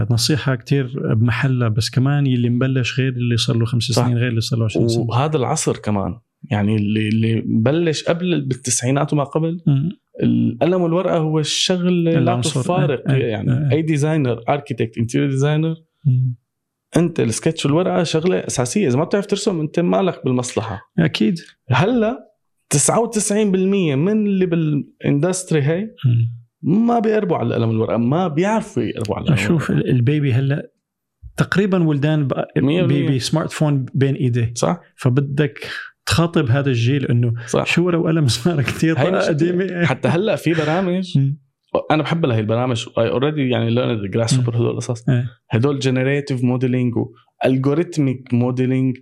كنصيحه كتير بمحلها بس كمان يلي مبلش غير اللي صار له خمس صح. سنين غير اللي صار له 20 سنه وهذا العصر كمان يعني اللي اللي بلش قبل بالتسعينات وما قبل مم. القلم والورقه هو الشغل لا العنصر. تفارق إيه، إيه، يعني إيه. اي ديزاينر اركيتكت انتيريور ديزاينر مم. انت السكتش والورقه شغله اساسيه اذا ما بتعرف ترسم انت مالك بالمصلحه اكيد هلا 99% من اللي بالاندستري هي مم. ما بيقربوا على القلم والورقه ما بيعرفوا يقربوا على القلم شوف ال- البيبي هلا تقريبا ولدان بقى- مية بالمية. بيبي سمارت فون بين ايديه والورقة. صح فبدك تخاطب هذا الجيل انه صح شو ورقه وقلم صار كثير هاي مشكلة. قديمه حتى هلا في برامج إيه. مم. انا بحب لهي البرامج اي اوريدي يعني ليرند جراس هوبر هدول القصص إيه. هدول جنريتيف موديلينج والجوريتميك موديلينج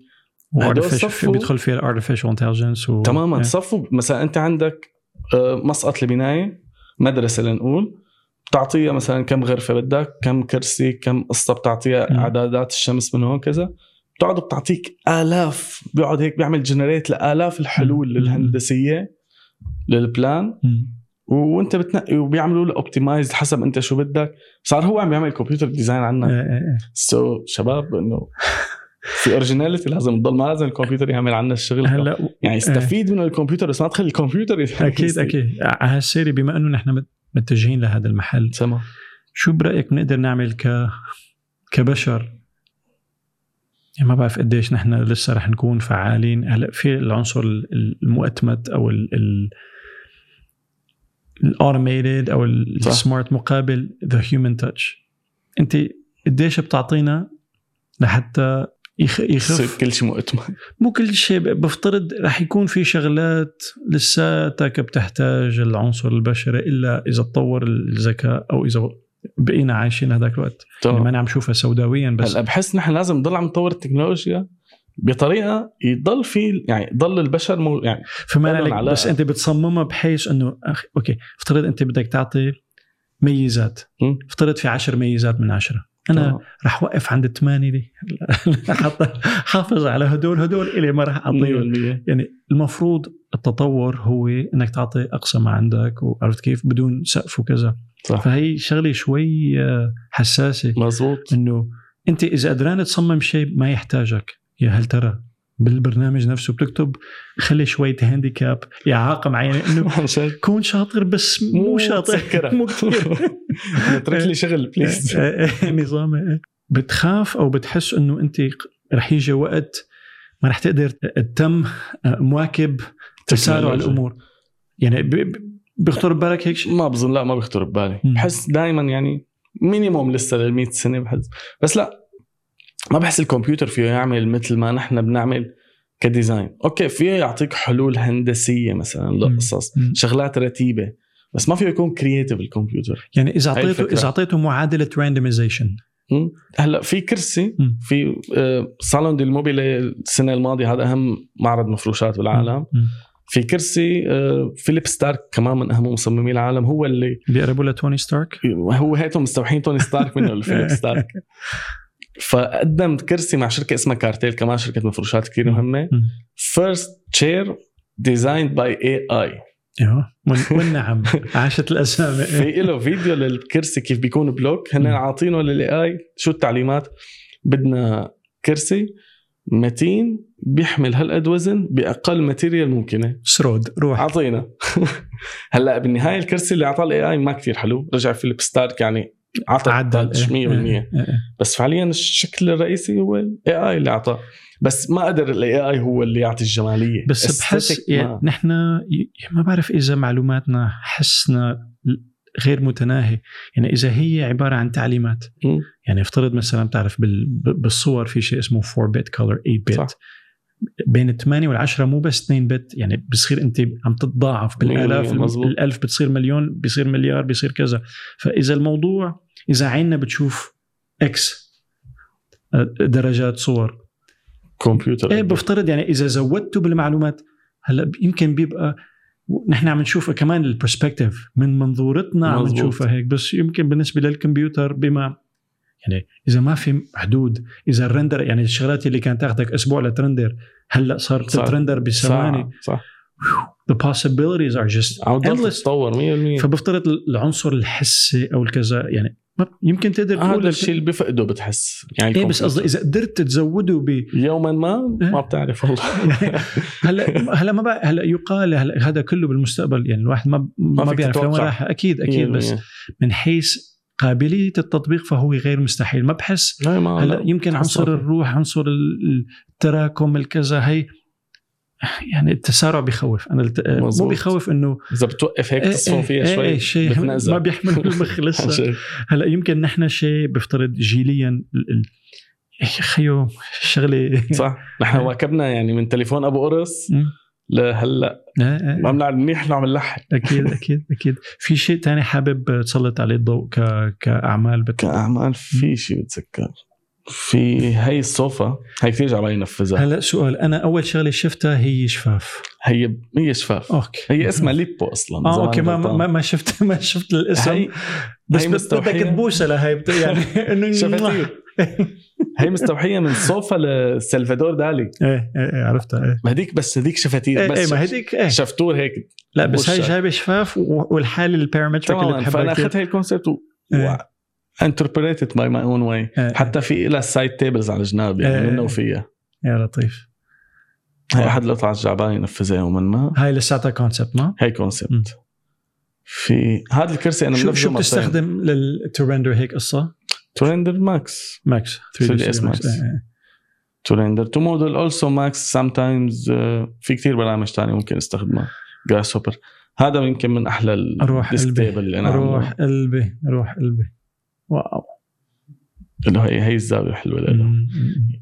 هدول Artificial- صفوا- بيدخل فيها الارتفيشال انتليجنس و... تماما إيه. صفوا مثلا انت عندك آه، مسقط البنايه مدرسه لنقول بتعطيها مثلا كم غرفه بدك كم كرسي كم قصه بتعطيها مم. اعدادات الشمس من هون كذا بتقعد بتعطيك الاف بيقعد هيك بيعمل جنريت لالاف الحلول مم. الهندسيه للبلان مم. وانت بتنقي وبيعملوا له اوبتمايز حسب انت شو بدك صار هو عم يعمل كمبيوتر ديزاين عنا إيه إيه إيه. سو so, شباب انه في اوريجيناليتي لازم تضل ما لازم الكمبيوتر يعمل عنا الشغل هلا إيه. و- يعني استفيد من الكمبيوتر بس ما ادخل الكمبيوتر يفهم اكيد يستفيد. اكيد على هالسيره بما انه نحن مت- متجهين لهذا المحل سما شو برايك بنقدر نعمل ك كبشر يعني ما بعرف قديش نحن لسه رح نكون فعالين هلا في العنصر ال- المؤتمت او ال ال الاوتوميتد او ال- صح. السمارت مقابل ذا هيومن تاتش انت قديش بتعطينا لحتى يخ- يخف يصير كل شيء مؤتمن مو كل شيء ب- بفترض رح يكون في شغلات لساتك بتحتاج العنصر البشري الا اذا تطور الذكاء او اذا بقينا عايشين هذاك الوقت يعني ما تمام انا عم شوفها سوداويا بس هلا بحس نحن لازم نضل عم نطور التكنولوجيا بطريقه يضل في يعني يضل البشر مو يعني فما فعلاً عليك علاقة. بس انت بتصممها بحيث انه أخ... اوكي افترض انت بدك تعطي ميزات م. افترض في عشر ميزات من عشرة انا تمام. رح وقف عند الثمانية دي حط حافظ على هدول هدول الي ما رح اعطيهم 100% يعني المفروض التطور هو انك تعطي اقصى ما عندك وعرفت كيف بدون سقف وكذا صح فهي شغله شوي آه، حساسه مزبوط انه انت اذا قدران تصمم شيء ما يحتاجك يا هل ترى بالبرنامج نفسه بتكتب خلي شويه هانديكاب اعاقه معينه انه عن جد كون شاطر بس مو إيه. شاطر مو كثير اترك لي شغل بليز نظام إيه. بتخاف او بتحس انه انت رح يجي وقت ما رح تقدر تتم آه، مواكب تسارع تكنولوجيا. الامور يعني ب- ب- بيخطر ببالك هيك شيء ما بظن لا ما بيخطر ببالي مم. بحس دائما يعني مينيموم لسه لل 100 سنه بحس بس لا ما بحس الكمبيوتر فيه يعمل مثل ما نحن بنعمل كديزاين اوكي فيه يعطيك حلول هندسيه مثلا لقصص مم. شغلات رتيبه بس ما فيه يكون كرييتيف الكمبيوتر يعني اذا هاي اعطيته الفكرة. اذا اعطيته معادله راندمايزيشن مم. هلا في كرسي في آه، صالون دي الموبيلي السنه الماضيه هذا اهم معرض مفروشات بالعالم في كرسي آه، فيليب ستارك كمان من اهم مصممي العالم هو اللي بيقربوا لتوني ستارك هو هاتهم مستوحين توني ستارك منه الفيليب ستارك فقدم كرسي مع شركه اسمها كارتيل كمان شركه مفروشات كثير مهمه مم. فيرست تشير ديزايند باي اي اي ايوه ون- والنعم عاشت الاسامي في له فيديو للكرسي كيف بيكون بلوك هن إيه. مم. عاطينه للاي اي شو التعليمات بدنا كرسي متين بيحمل هالقد وزن باقل ماتيريال ممكنه سرود روح عطينا هلا بالنهايه الكرسي اللي اعطاه الاي اي ما كثير حلو رجع فيليب ستارك يعني عطى إيه. التاتش 100% بس فعليا الشكل الرئيسي هو الاي اي اللي اعطاه بس ما قدر الاي اي هو اللي يعطي الجماليه بس Aesthetic بحس يعني ما- نحن ي- يعني ما بعرف اذا معلوماتنا حسنا غير متناهي يعني اذا هي عباره عن تعليمات مم. يعني افترض مثلا بتعرف بال- ب- بالصور في شيء اسمه 4 بت كولر 8 صح. بت بين 8 وال10 مو بس 2 بت يعني بصير انت عم تتضاعف بالالاف مية مزبوط. الالف بتصير مليون بيصير مليار بيصير كذا فاذا الموضوع اذا عيننا بتشوف اكس درجات صور كمبيوتر ايه بفترض يعني اذا زودته بالمعلومات هلا يمكن بيبقى نحن عم نشوف كمان البرسبكتيف من منظورتنا عم مزبوط. نشوفها هيك بس يمكن بالنسبه للكمبيوتر بما يعني اذا ما في حدود اذا الرندر يعني الشغلات اللي كانت تاخذك اسبوع لترندر هلا صارت صار- تترندر بثواني صح صح the possibilities are just عم تضل endless تتطور 100% فبفترض العنصر الحسي او الكذا يعني ما- يمكن تقدر تقول هذا الشيء اللي بفقده بتحس يعني ايه بس الكمبيوتر. قصدي اذا قدرت تزوده ب يوما ما إيه. ما بتعرف والله هلا هلا ما بقى هلا يقال هلا هذا كله بالمستقبل يعني الواحد ما ما, ما فيك بيعرف لوين تتوقع. إيه، راح اكيد اكيد بس 100%. من حيث قابليه التطبيق فهو غير مستحيل ما بحس آه، لا ما هلا يمكن تحسن. عنصر الروح عنصر ال- التراكم الكذا هي يعني التسارع بخوف انا الت... آه، مو مزبوط. بخوف انه اذا بتوقف هيك إيه تصفن إيه إيه فيها شوي إيه شيء بتنأزل. ما إيه. بيحمل المخ لسه هلا يمكن نحن شيء بفترض جيليا ال- ال- إيه، خيو شغله صح نحن واكبنا يعني من تليفون ابو قرص مم. لهلا إيه، إيه. ما بنعرف منيح نعمل لحن اكيد اكيد اكيد في شيء تاني حابب تسلط عليه الضوء ك... كاعمال بت... كاعمال في شيء بتذكر في هي الصوفة هي كثير جعبان ينفذها هلا سؤال انا اول شغله شفتها هي شفاف هي هي شفاف اوكي هي اسمها ليبو اصلا إذا اه اوكي أنا ما غلطان. ما, ما شفت ما شفت الاسم هي بس هي بت- بدك مستوحية. تبوسه لهي بت- يعني انه شفتير هي مستوحيه من صوفة لسلفادور دالي ايه ايه إيه، عرفتها ايه ما هديك بس هديك شفتير ايه إيه، بس ما هديك ايه شفتور هيك لا بس هي بوشة. جايبه شفاف و- والحاله البارامتريك اللي تماما بحبها فانا كثير اخذت هي الكونسيبت إيه. وانتربريتد باي ماي اون واي إيه، حتى في لها سايد تيبلز على الجناب يعني إيه. منه وفيها يا لطيف هي احد القطع الجعبان ينفذها يوما ما هاي لساتها كونسبت ما هي مم. كونسيبت في هذا الكرسي انا شو منفذه شو بتستخدم لل... to render هيك قصه تورندر ماكس ماكس 3 3D دي Max. ماكس إيه، إيه. تو ريندر تو موديل اولسو ماكس سام تايمز uh, في كثير برامج تانية ممكن استخدمها جراس هوبر هذا يمكن من احلى روح قلبي. الديستيبل اللي انا روح عملها قلبي روح قلبي واو اللي هي هي الزاويه حلوه له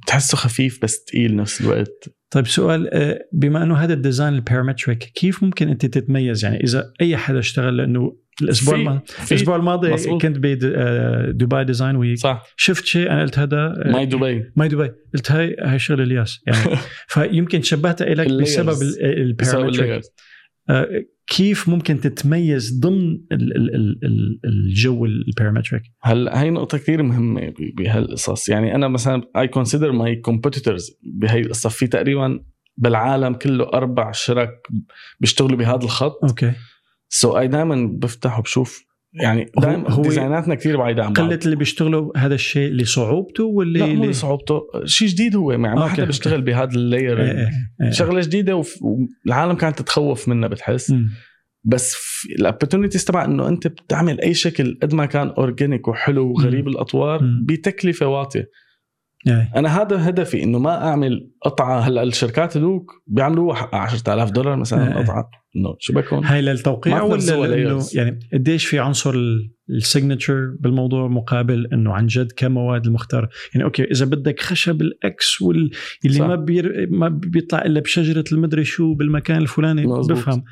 بتحسه خفيف بس ثقيل نفس الوقت طيب سؤال آه، بما انه هذا الديزاين البارامتريك كيف ممكن انت تتميز يعني اذا اي حدا اشتغل لانه الاسبوع في- الماضي في- الاسبوع الماضي مزبوط. كنت بدبي ديزاين ويك صح شفت شيء انا قلت هذا آه، ماي دبي ماي دبي قلت هاي هاي شغل الياس يعني فيمكن شبهتها لك ال layers. بسبب ال- بسبب البارامتريك layers. آه، كيف ممكن تتميز ضمن ال- ال- ال- ال- الجو البارامتريك هلا هي نقطة كثير مهمة ب- بهالقصص يعني أنا مثلا اي كونسيدر ماي كومبيتيتورز بهي القصة في تقريبا بالعالم كله أربع شرك بيشتغلوا بهذا الخط اوكي سو اي دائما بفتح وبشوف يعني هو- دائما هو- هو ديزايناتنا كثير بعيده عن بعض قله اللي بيشتغلوا هذا الشيء لصعوبته واللي لا مو لي- صعوبته شيء جديد هو يعني ما أوكي، حدا بيشتغل بهذا إيه، اللاير إيه، إيه. شغله جديده وف- والعالم كانت تتخوف منها بتحس مم. بس الاوبرتونيتيز تبع انه انت بتعمل اي شكل قد ما كان اورجانيك وحلو وغريب الاطوار مم. بتكلفه واطيه إيه. انا هذا هدفي انه ما اعمل قطعه هلا الشركات هذوك بيعملوها حقها 10000 دولار مثلا إيه. قطعه انه شو بكون هاي ما للتوقيع تنسوا ولا لانه layers. يعني قديش في عنصر السيجنتشر بالموضوع مقابل انه عن جد كمواد المختار يعني اوكي اذا بدك خشب الاكس واللي صح. ما بير ما بيطلع الا بشجره المدري شو بالمكان الفلاني مزبوط. بفهم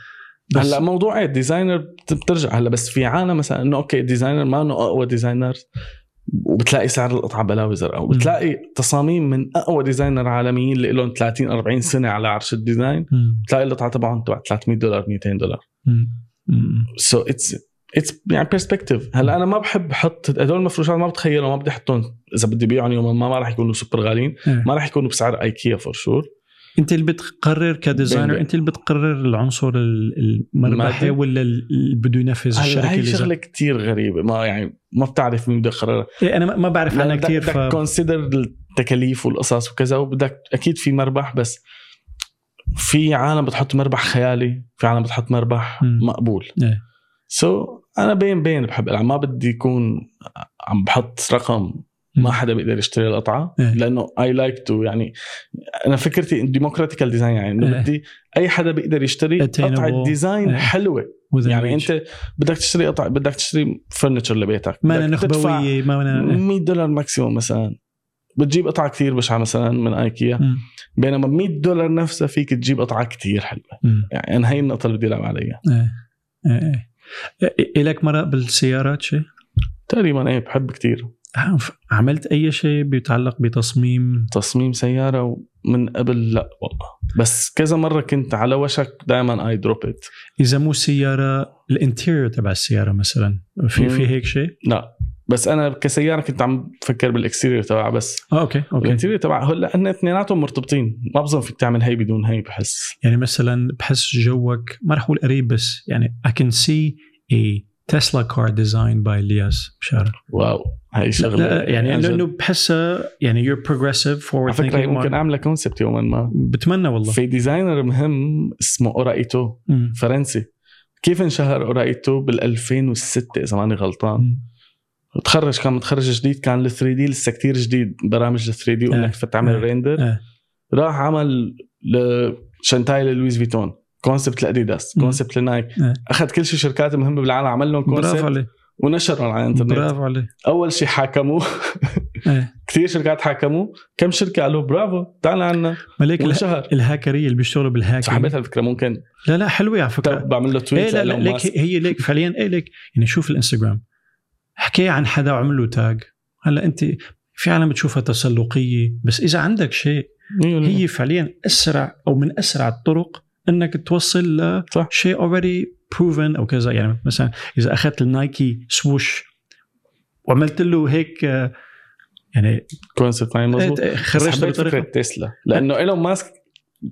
بس هلا موضوع الديزاينر بت- بترجع هلا بس في عالم مثلا انه اوكي الديزاينر ما انه اقوى ديزاينر وبتلاقي سعر القطعه بلاوي زرقاء وبتلاقي تصاميم من اقوى ديزاينر عالميين اللي لهم 30 40 سنه على عرش الديزاين مم. بتلاقي القطعه تبعهم تبع 300 دولار 200 دولار مم. مم. سو اتس اتس يعني بيرسبكتيف هلا انا ما بحب احط هدول المفروشات ما بتخيلهم ما بدي احطهم اذا بدي بيعهم يوما ما ما راح يكونوا سوبر غاليين إيه. ما راح يكونوا بسعر ايكيا فور شور انت اللي بتقرر كديزاينر بين- انت اللي بتقرر العنصر ال- المربحي المادي. ولا ال- اللي بده ينفذ هلا الشركه هي اللي شغله زي- كثير غريبه ما يعني ما بتعرف مين بده يقررها إيه انا ما- ما بعرف عنها كثير بدك ف... كونسيدر التكاليف والقصص وكذا وبدك اكيد في مربح بس في عالم بتحط مربح خيالي في عالم بتحط مربح مم. مقبول إيه. سو so, انا بين بين بحب العب ما بدي يكون عم بحط رقم ما حدا بيقدر يشتري القطعه إيه. لانه اي لايك تو يعني انا فكرتي ديموكراتيكال ديزاين يعني إيه. انه بدي اي حدا بيقدر يشتري قطعه Attainable. ديزاين إيه. حلوه with a يعني reach. انت بدك تشتري قطع بدك تشتري فرنتشر لبيتك ما أنا بدك تدفع نخبويه ما أنا... 100 دولار ماكسيموم مثلا بتجيب قطعه كثير بشعه مثلا من ايكيا مم. بينما ب 100 دولار نفسها فيك تجيب قطعه كثير حلوه مم. يعني انا هي النقطه اللي بدي العب عليها ايه ايه إيه. الك مرق بالسيارات شيء؟ تقريبا ايه بحب كثير عملت اي شيء بيتعلق بتصميم تصميم سياره من قبل لا والله بس كذا مره كنت على وشك دائما اي دروب ات اذا مو سياره الانتيريور تبع السياره مثلا في مم. في هيك شيء؟ لا بس انا كسياره كنت عم بفكر بالاكستيريور تبعها بس اه اوكي اوكي الانتيريور تبعها هلا هن اثنيناتهم مرتبطين ما بظن فيك تعمل هي بدون هي بحس يعني مثلا بحس جوك ما رح اقول قريب بس يعني I can see a Tesla car designed by Elias بشار واو هي لا, شغله لا يعني عن جد. لانه بحسها يعني you're progressive forward على فكره هي thinking ممكن more. اعملها كونسبت يوما ما بتمنى والله في ديزاينر مهم اسمه اورايتو مم. فرنسي كيف انشهر اورايتو بال 2006 اذا ماني غلطان تخرج كان متخرج جديد كان ال 3 دي لسه كثير جديد برامج ال 3 دي إيه. وانك تعمل إيه. ريندر إيه. راح عمل شانتاي للويس فيتون كونسبت لاديداس مم. كونسبت لنايك إيه. اخذ كل شيء شركات مهمه بالعالم عمل لهم برافو كونسبت عليه ونشرهم على الانترنت برافو عليه اول شيء حاكموه إيه. كثير شركات حاكموه كم شركه قالوا برافو تعال عنا ملك اله- وانشهر الهاكريه اللي بيشتغلوا بالهاكينج فحبيت هالفكره ممكن لا لا حلوه على فكره طب بعمل له ايه تويت لا لا ليك هي- هي ليك فعليا ايه ليك يعني شوف الانستغرام حكي عن حدا وعمل له تاج هلا انت في عالم بتشوفها تسلقيه بس اذا عندك شيء هي هي فعليا اسرع او من اسرع الطرق انك توصل صح. لشيء اوريدي بروفن او كذا يعني مثلا اذا اخذت النايكي سووش وعملت له هيك آه، يعني آه، كونسبت معي إيه، مضبوط خرجت فكره بطريقه تسلا لانه ايلون ماسك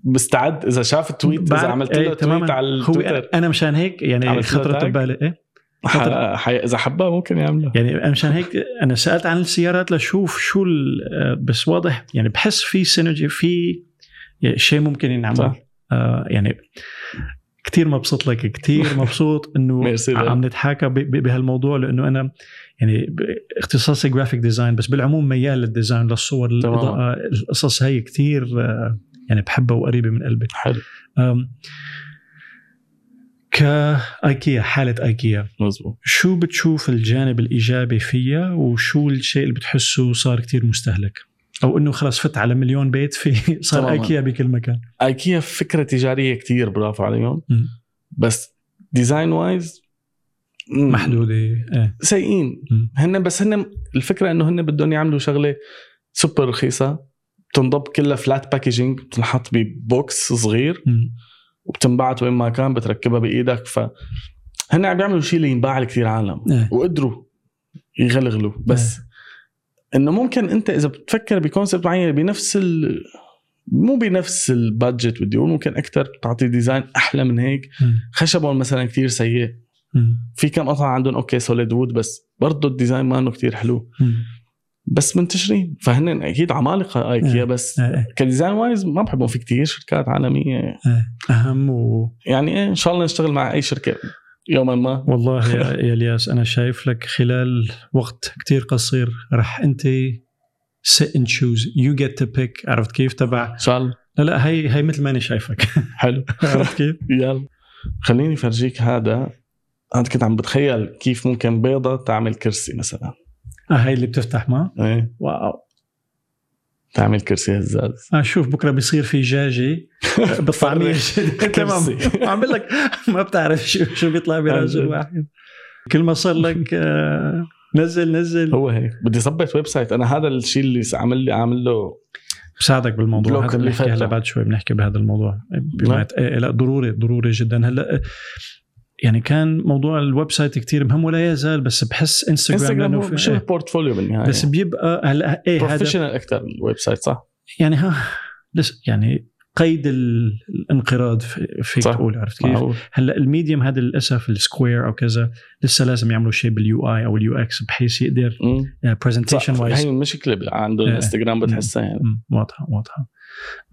مستعد اذا شاف التويت بعد- اذا عملت إيه، له تويت تماما. على هو أنا- التويتر انا مشان هيك يعني عملت له خطرت tag؟ ببالي ايه ح- ح- اذا حبها ممكن يعملها يعني مشان هيك انا سالت عن السيارات لشوف شو ال- آه، بس واضح يعني بحس في سينرجي في يعني شيء ممكن ينعمل صح. آه يعني كثير مبسوط لك كثير مبسوط انه ميرسي لك. عم نتحاكى ب- ب- بهالموضوع لانه انا يعني ب- اختصاصي جرافيك ديزاين بس بالعموم ميال للديزاين للصور تماماً. الاضاءه القصص هي كثير آه، يعني بحبها وقريبه من قلبي حلو آم، كايكيا حاله ايكيا مزبوط شو بتشوف الجانب الايجابي فيها وشو الشيء اللي بتحسه صار كتير مستهلك او انه خلاص فت على مليون بيت في صار تماماً. ايكيا بكل مكان ايكيا فكره تجاريه كتير برافو عليهم مم. بس ديزاين وايز محدوده ايه سيئين مم. هن بس هن الفكره انه هن بدهم يعملوا شغله سوبر رخيصه بتنضب كلها فلات باكجينج بتنحط ببوكس صغير مم. وبتنبعت وين ما كان بتركبها بايدك ف هن عم بيعملوا شيء اللي ينباع لكثير عالم إيه. وقدروا يغلغلوا بس انه ممكن انت اذا بتفكر بكونسبت معين بنفس ال مو بنفس البادجت بدي اقول ممكن اكثر تعطي ديزاين احلى من هيك مم. خشبهم مثلا كتير سيء مم. في كم قطعه عندهم اوكي سوليد وود بس برضه الديزاين ما كتير حلو مم. بس منتشرين فهن اكيد عمالقه إيه. ايكيا بس إيه، إيه. كديزاين وايز ما بحبهم في كتير شركات عالميه اهم و... يعني ايه ان شاء الله نشتغل مع اي شركه يوما ما والله يا, يا الياس انا شايف لك خلال وقت كتير قصير رح انت sit and choose you get to pick عرفت كيف تبع ان شاء الله لا لا هي هي مثل ما انا شايفك حلو عرفت كيف يلا خليني فرجيك هذا انا كنت عم بتخيل كيف ممكن بيضه تعمل كرسي مثلا آه، هي اللي بتفتح ما ايه واو تعمل كرسي هزاز آه، شوف بكره بيصير في جاجي بالطعميه تمام كرسي. عم بقول لك ما بتعرف شو شو بيطلع برجل عن جد. واحد كل ما صار لك آه، نزل نزل هو هيك بدي اظبط ويب سايت انا هذا الشيء اللي عامل لي عامل له بساعدك بالموضوع بلوك هذا اللي بنحكي فاتها. هلا بعد شوي بنحكي بهذا الموضوع بما نعم. يت- إيه، لا ضروري ضروري جدا هلا آه، يعني كان موضوع الويب سايت كثير مهم ولا يزال بس بحس انستغرام انستغرام لانه هو أيوة. في- شبه إيه، بورتفوليو بالنهايه بس بيبقى هلا ايه هذا بروفيشنال اكثر الويب سايت صح؟ يعني ها لس يعني قيد ال- الانقراض في- فيك صح. تقول عرفت كيف؟ معقول هلا الميديم هذا للاسف السكوير او كذا لسه لازم يعملوا شيء باليو اي او اليو اكس بحيث يقدر آه، مم. صح. برزنتيشن هي وايز المشكله بال- عند إيه. الانستغرام بتحسها يعني واضحه واضحه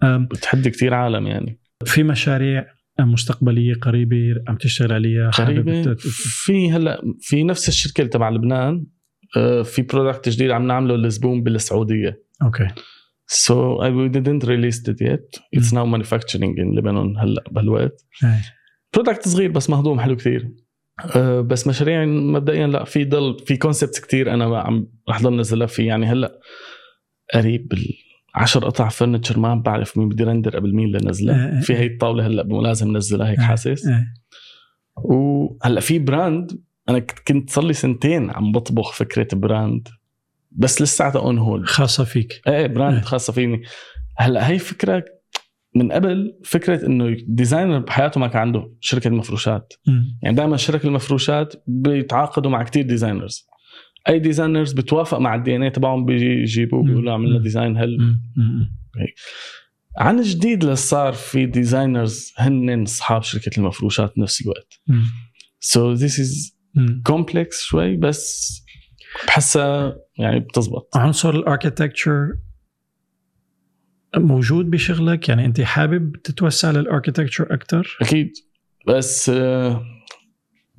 أم، بتحد كتير عالم يعني في مشاريع مستقبليه قريبه عم تشتغل عليها حابب قريبه ت- في هلا في نفس الشركه اللي تبع لبنان آه، في برودكت جديد عم نعمله لزبون بالسعوديه اوكي So I we didn't release it yet. It's now manufacturing in Lebanon هلا بهالوقت. إيه. برودكت صغير بس مهضوم حلو كثير. آه، بس مشاريع مبدئيا لا في ضل في كونسبت كثير انا عم رح ضل نزلها في يعني هلا قريب بال 10 قطع فرنتشر ما بعرف مين بدي رندر قبل مين إيه، إيه، لنزلها في هي الطاوله هلا مو لازم نزلها هيك إيه، حاسس إيه. وهلا في براند انا كنت- كنت صار لي سنتين عم بطبخ فكره براند بس لساتها اون هولد خاصه فيك ايه إيه. براند خاصه فيني هلا هي فكره من قبل فكره انه ديزاينر بحياته ما كان عنده شركه مفروشات مم. يعني دائما شركه المفروشات بيتعاقدوا مع كتير ديزاينرز اي ديزاينرز بتوافق مع الدي ان اي تبعهم بيجي يجيبوه مم. بيقولوا عملنا مم. ديزاين هل مم. مم. عن جديد لصار في ديزاينرز هن اصحاب شركه المفروشات نفس الوقت مم. سو ذيس از مم. كومبلكس شوي بس بحسها يعني بتزبط عنصر الاركتكتشر موجود بشغلك يعني انت حابب تتوسع للاركتكتشر اكثر اكيد بس آه،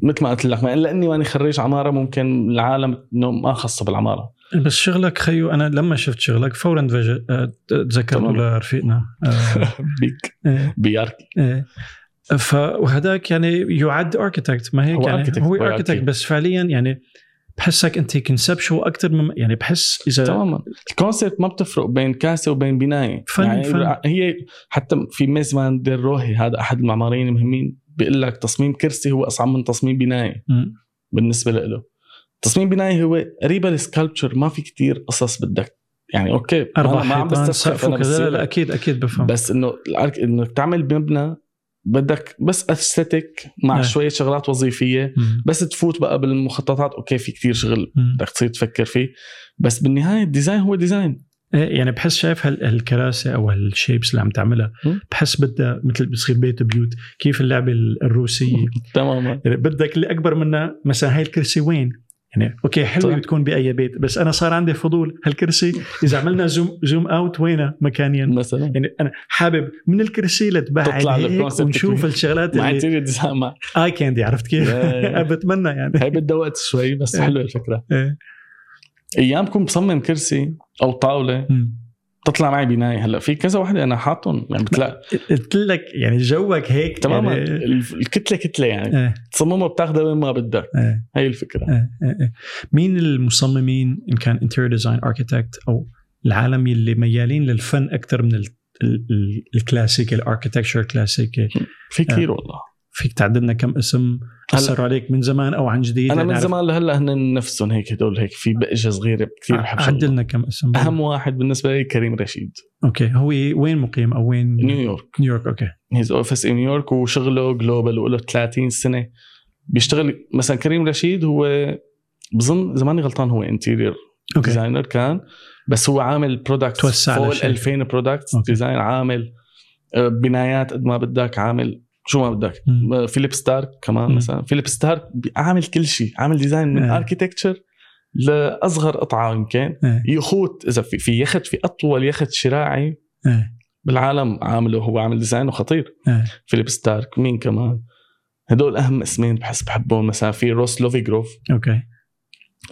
مثل ما قلت لك ما لاني ماني خريج عماره ممكن العالم انه ما خاصه بالعماره بس شغلك خيو انا لما شفت شغلك فورا فج- آه، تذكرته تمام. لرفيقنا آه، بيك إيه، بياركي إيه. فهذاك يعني يعد اركتكت ما هيك هو يعني architect، هو هو اركتكت architect. بس فعليا يعني بحسك انت كونسبشوال اكثر من يعني بحس اذا تماما الكونسيبت ما بتفرق بين كاسه وبين بنايه فن- يعني فن. هي حتى في ميز فان دير روهي هذا احد المعماريين المهمين بيقول لك تصميم كرسي هو اصعب من تصميم بنايه مم. بالنسبه له تصميم بنايه هو قريبه للسكالبتشر ما في كتير قصص بدك يعني اوكي أنا اربع ما عم حيطان بستسخف، سقف أنا بس وكذا لا، لا لك. اكيد اكيد بفهم بس انه الأرك... انك تعمل مبنى بدك بس اثستيك مع آه. آه. شويه شغلات وظيفيه مم. بس تفوت بقى بالمخططات اوكي في كتير شغل مم. بدك تصير تفكر فيه بس بالنهايه الديزاين هو ديزاين ايه يعني بحس شايف هال- هالكراسي او هالشيبس اللي عم تعملها مم. بحس بدها مثل بتصير بيت بيوت كيف اللعبه ال- الروسيه تماما يعني بدك اللي اكبر منها مثلا هاي الكرسي وين يعني اوكي حلوه صح. بتكون باي بيت بس انا صار عندي فضول هالكرسي اذا عملنا زوم زوم اوت وينها مكانيا مثلا يعني انا حابب من الكرسي لتبعد تطلع هيك للconcept ونشوف كبير. الشغلات مع اللي انتيريور ديزاين مع اي كاندي عرفت كيف؟ يا- يا. بتمنى يعني هي بدها وقت شوي بس إيه. حلوه الفكره إيه. ايام كنت بصمم كرسي او طاوله مم. تطلع معي بنايه هلا في كذا وحده انا حاطهم يعني بتلاقي قلت لك يعني جوك هيك تماما يعني- الف- الكتله كتله يعني إيه. تصممها بتاخذها وين ما بدك إيه. هي الفكره إيه، إيه، إيه. مين المصممين ان كان انتيريور ديزاين اركيتكت او العالم اللي ميالين للفن اكثر من ال- ال- ال- الكلاسيك الاركيتكتشر كلاسيك في إيه. كثير والله فيك تعدلنا كم اسم هلا- اثروا عليك من زمان او عن جديد يعني انا من لنعرف- زمان لهلا هن نفسهم هيك هدول هيك في بقشه صغيره كثير بحب شغلهم. عدلنا كم اسم اهم واحد بالنسبه لي كريم رشيد اوكي هو وين مقيم او وين نيويورك نيويورك اوكي هيز اوفيس ان نيويورك وشغله جلوبال وله 30 سنه بيشتغل مثلا كريم رشيد هو بظن اذا ماني غلطان هو انتيرير اوكي ديزاينر كان بس هو عامل برودكت توسع فوق ال لشركة. 2000 برودكت أوكي. ديزاين عامل آه، بنايات قد ما بدك عامل شو ما بدك مم. آه، فيليب ستارك كمان مم. مثلا فيليب ستارك عامل كل شيء عامل ديزاين من إيه. اركيتكتشر لاصغر قطعه يمكن إيه. يخوت اذا في في يخت في اطول يخت شراعي إيه. بالعالم عامله هو عامل ديزاينه خطير إيه. فيليب ستارك مين كمان هدول اهم اسمين بحس بحبهم مثلا في روس لوفيجروف اوكي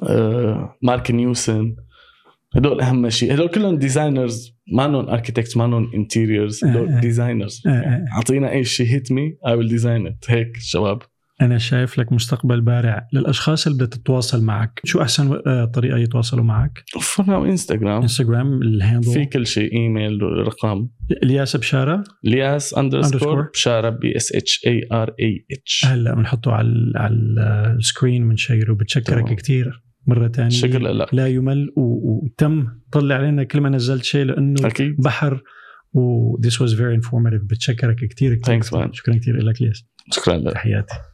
آه، مارك نيوسن هدول اهم شيء هدول كلهم ديزاينرز مانن اركيتكت مانن انتيريورز آه، آه. هدول ديزاينرز آه، آه. اعطينا اي شيء هيت مي اي ويل ديزاين ات هيك شباب انا شايف لك مستقبل بارع للاشخاص اللي بدها تتواصل معك شو احسن آه، طريقه يتواصلوا معك فرنا وانستغرام انستغرام الهاندل في كل شيء ايميل رقم الياس بشاره الياس Underscore. اندرسكور بشاره بي اس اتش اي ار اي اتش هلا بنحطه على ال- على ال- السكرين بنشيره بتشكرك تمام. كثير مره ثانيه شكرا لك لا يمل و- وتم طلع علينا كل ما نزلت شيء لانه اكيد بحر و this was very informative بتشكرك كثير كثير Thanks, man. شكرا كثير لك ليس شكرا لك تحياتي